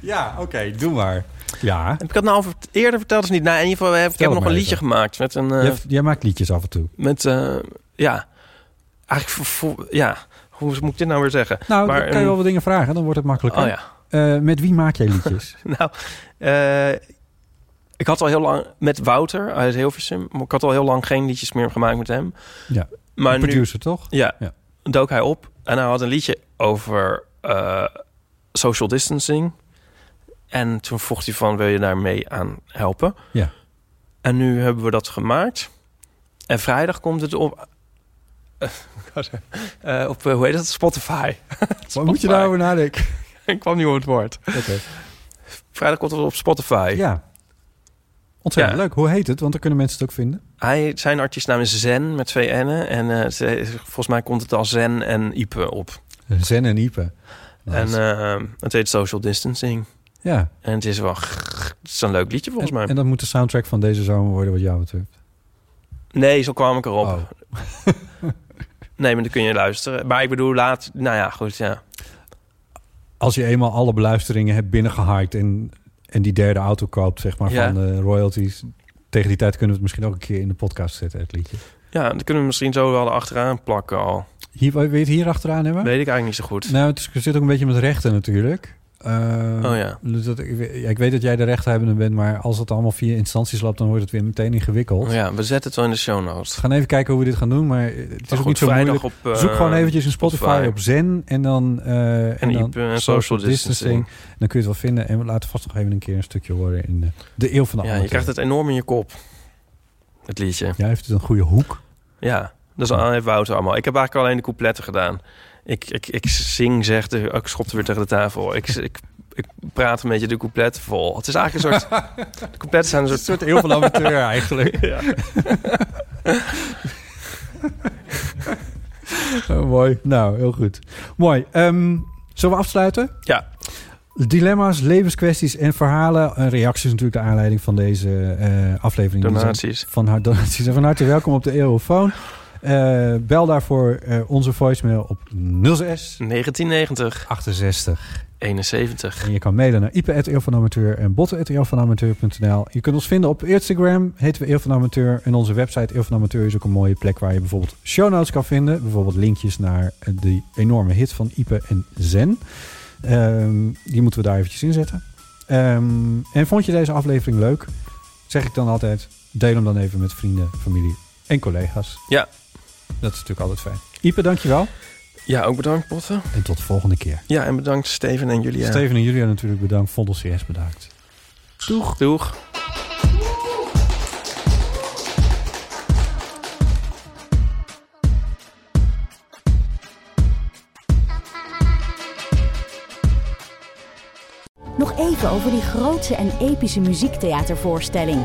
Speaker 2: ja, oké, doe maar. Ja.
Speaker 3: Heb ik dat nou al vert- eerder verteld of niet? Nou, in ieder geval, we hebben- ik
Speaker 2: Vertel
Speaker 3: heb
Speaker 2: het
Speaker 3: nog een
Speaker 2: maar
Speaker 3: liedje
Speaker 2: even.
Speaker 3: gemaakt met een... eh,
Speaker 2: Jij, jij maakt liedjes af en toe.
Speaker 3: met, eh, ja, eigenlijk, voor, voor- ja, hoe moet ik dit nou weer zeggen?
Speaker 2: Nou, dan kan je
Speaker 3: een-
Speaker 2: wel wat dingen vragen, dan wordt het makkelijker.
Speaker 3: Oh ja.
Speaker 2: Eh, met wie maak jij liedjes?
Speaker 3: Nou, eh, ik had al heel lang met Wouter uit Hilversum. maar Ik had al heel lang geen liedjes meer gemaakt met hem.
Speaker 2: ja,
Speaker 3: Maar
Speaker 2: de
Speaker 3: nu-
Speaker 2: producer toch?
Speaker 3: Ja,
Speaker 2: Ja.
Speaker 3: dook hij op en hij had een liedje over eh, social distancing. En toen vroeg hij van, wil je daar mee aan helpen?
Speaker 2: Ja.
Speaker 3: En nu hebben we dat gemaakt. En vrijdag komt het op... eh, ik wou zeggen, eh, op, eh, hoe heet dat? Spotify.
Speaker 2: Wat moet je nou-
Speaker 3: Spotify.
Speaker 2: daarover nadenken?
Speaker 3: Ik kwam niet op het woord.
Speaker 2: Oké.
Speaker 3: Vrijdag komt het op Spotify.
Speaker 2: Ja. Ontzettend
Speaker 3: Ja.
Speaker 2: leuk. Hoe heet het? Want dan kunnen mensen het ook vinden.
Speaker 3: Hij, zijn artiestnaam is Zen met twee N'en. En eh, ze- volgens mij komt het al Zen en Ipe op.
Speaker 2: Zen en Ipe. Nice.
Speaker 3: En eh, het heet Social Distancing.
Speaker 2: ja.
Speaker 3: En het is wel grrr, het is een leuk liedje volgens mij.
Speaker 2: En dat moet de soundtrack van deze zomer worden wat jou betreft.
Speaker 3: Nee, zo kwam ik erop.
Speaker 2: Oh.
Speaker 3: nee, maar dan kun je luisteren. Maar ik bedoel, laat... Nou ja, goed, ja.
Speaker 2: Als je eenmaal alle beluisteringen hebt binnengehaakt en, en die derde auto koopt, zeg maar,
Speaker 3: Ja.
Speaker 2: van de royalties. Tegen die tijd kunnen we het misschien ook een keer in de podcast zetten, het liedje.
Speaker 3: Ja, dan kunnen we misschien zo wel erachteraan plakken al.
Speaker 2: Hier, wil je het hier achteraan hebben?
Speaker 3: Weet ik eigenlijk niet zo goed.
Speaker 2: Nou, het is- het zit ook een beetje met rechten natuurlijk. Eh,
Speaker 3: Oh ja.
Speaker 2: dus dat, ik, weet- ja, ik weet dat jij de rechthebbende bent, maar als het allemaal via instanties loopt, dan wordt het weer meteen ingewikkeld.
Speaker 3: Oh ja, we zetten het wel in de show notes.
Speaker 2: We gaan even kijken hoe we dit gaan doen, maar eh, het is
Speaker 3: Maar
Speaker 2: ook
Speaker 3: goed,
Speaker 2: niet zo
Speaker 3: vrijdag
Speaker 2: moeilijk.
Speaker 3: op, eh,
Speaker 2: Zoek gewoon eventjes in Spotify,
Speaker 3: Spotify.
Speaker 2: op Zen en dan, eh, en
Speaker 3: En
Speaker 2: dan
Speaker 3: Iep, eh, social distancing.
Speaker 2: Dan kun je het wel vinden en we laten vast nog even een keer een stukje horen in de, de eeuw van de
Speaker 3: Ja, je
Speaker 2: amateur.
Speaker 3: krijgt het enorm in je kop. Het liedje.
Speaker 2: Jij heeft het een goede hoek.
Speaker 3: Ja, dat is al- heeft Wouter allemaal. Ik heb eigenlijk alleen de coupletten gedaan. Ik, ik, ik zing, zeg, de, oh, ik schopte weer tegen de tafel. Ik, ik, ik praat een beetje de coupletten vol. Het is eigenlijk een soort... De coupletten zijn een soort...
Speaker 2: soort eeuw van de amateur eigenlijk.
Speaker 3: Ja.
Speaker 2: Oh, mooi. Nou, heel goed. Mooi. Ehm, zullen we afsluiten?
Speaker 3: Ja.
Speaker 2: Dilemma's, levenskwesties en verhalen. Een reactie is natuurlijk de aanleiding van deze eh, aflevering. Die zijn
Speaker 3: Donaties.
Speaker 2: Van haar donaties. En van harte welkom op de Eurofoon. Eh, bel daarvoor eh, onze voicemail op 06
Speaker 3: 1990,
Speaker 2: 68.
Speaker 3: 71.
Speaker 2: En je kan mailen naar ipe.eelvanamateur en botten.eelvanamateur.nl. Je kunt ons vinden op Instagram, heten we Eeuw van Amateur. En onze website Eeuw van Amateur is ook een mooie plek waar je bijvoorbeeld show notes kan vinden. Bijvoorbeeld linkjes naar de enorme hit van Ipe en Zen. Ehm, die moeten we daar eventjes inzetten. zetten. en vond je deze aflevering leuk? Zeg ik dan altijd, deel hem dan even met vrienden, familie en collega's.
Speaker 3: Ja.
Speaker 2: Dat is natuurlijk altijd fijn. Ipe, dankjewel.
Speaker 3: Ja, ook bedankt, Potten.
Speaker 2: En tot de volgende keer.
Speaker 3: Ja, en bedankt Steven en Julia.
Speaker 2: Steven en Julia natuurlijk bedankt. Vondel CS bedankt.
Speaker 3: Doeg. Doeg.
Speaker 1: Nog even over die grootse en epische muziektheatervoorstelling.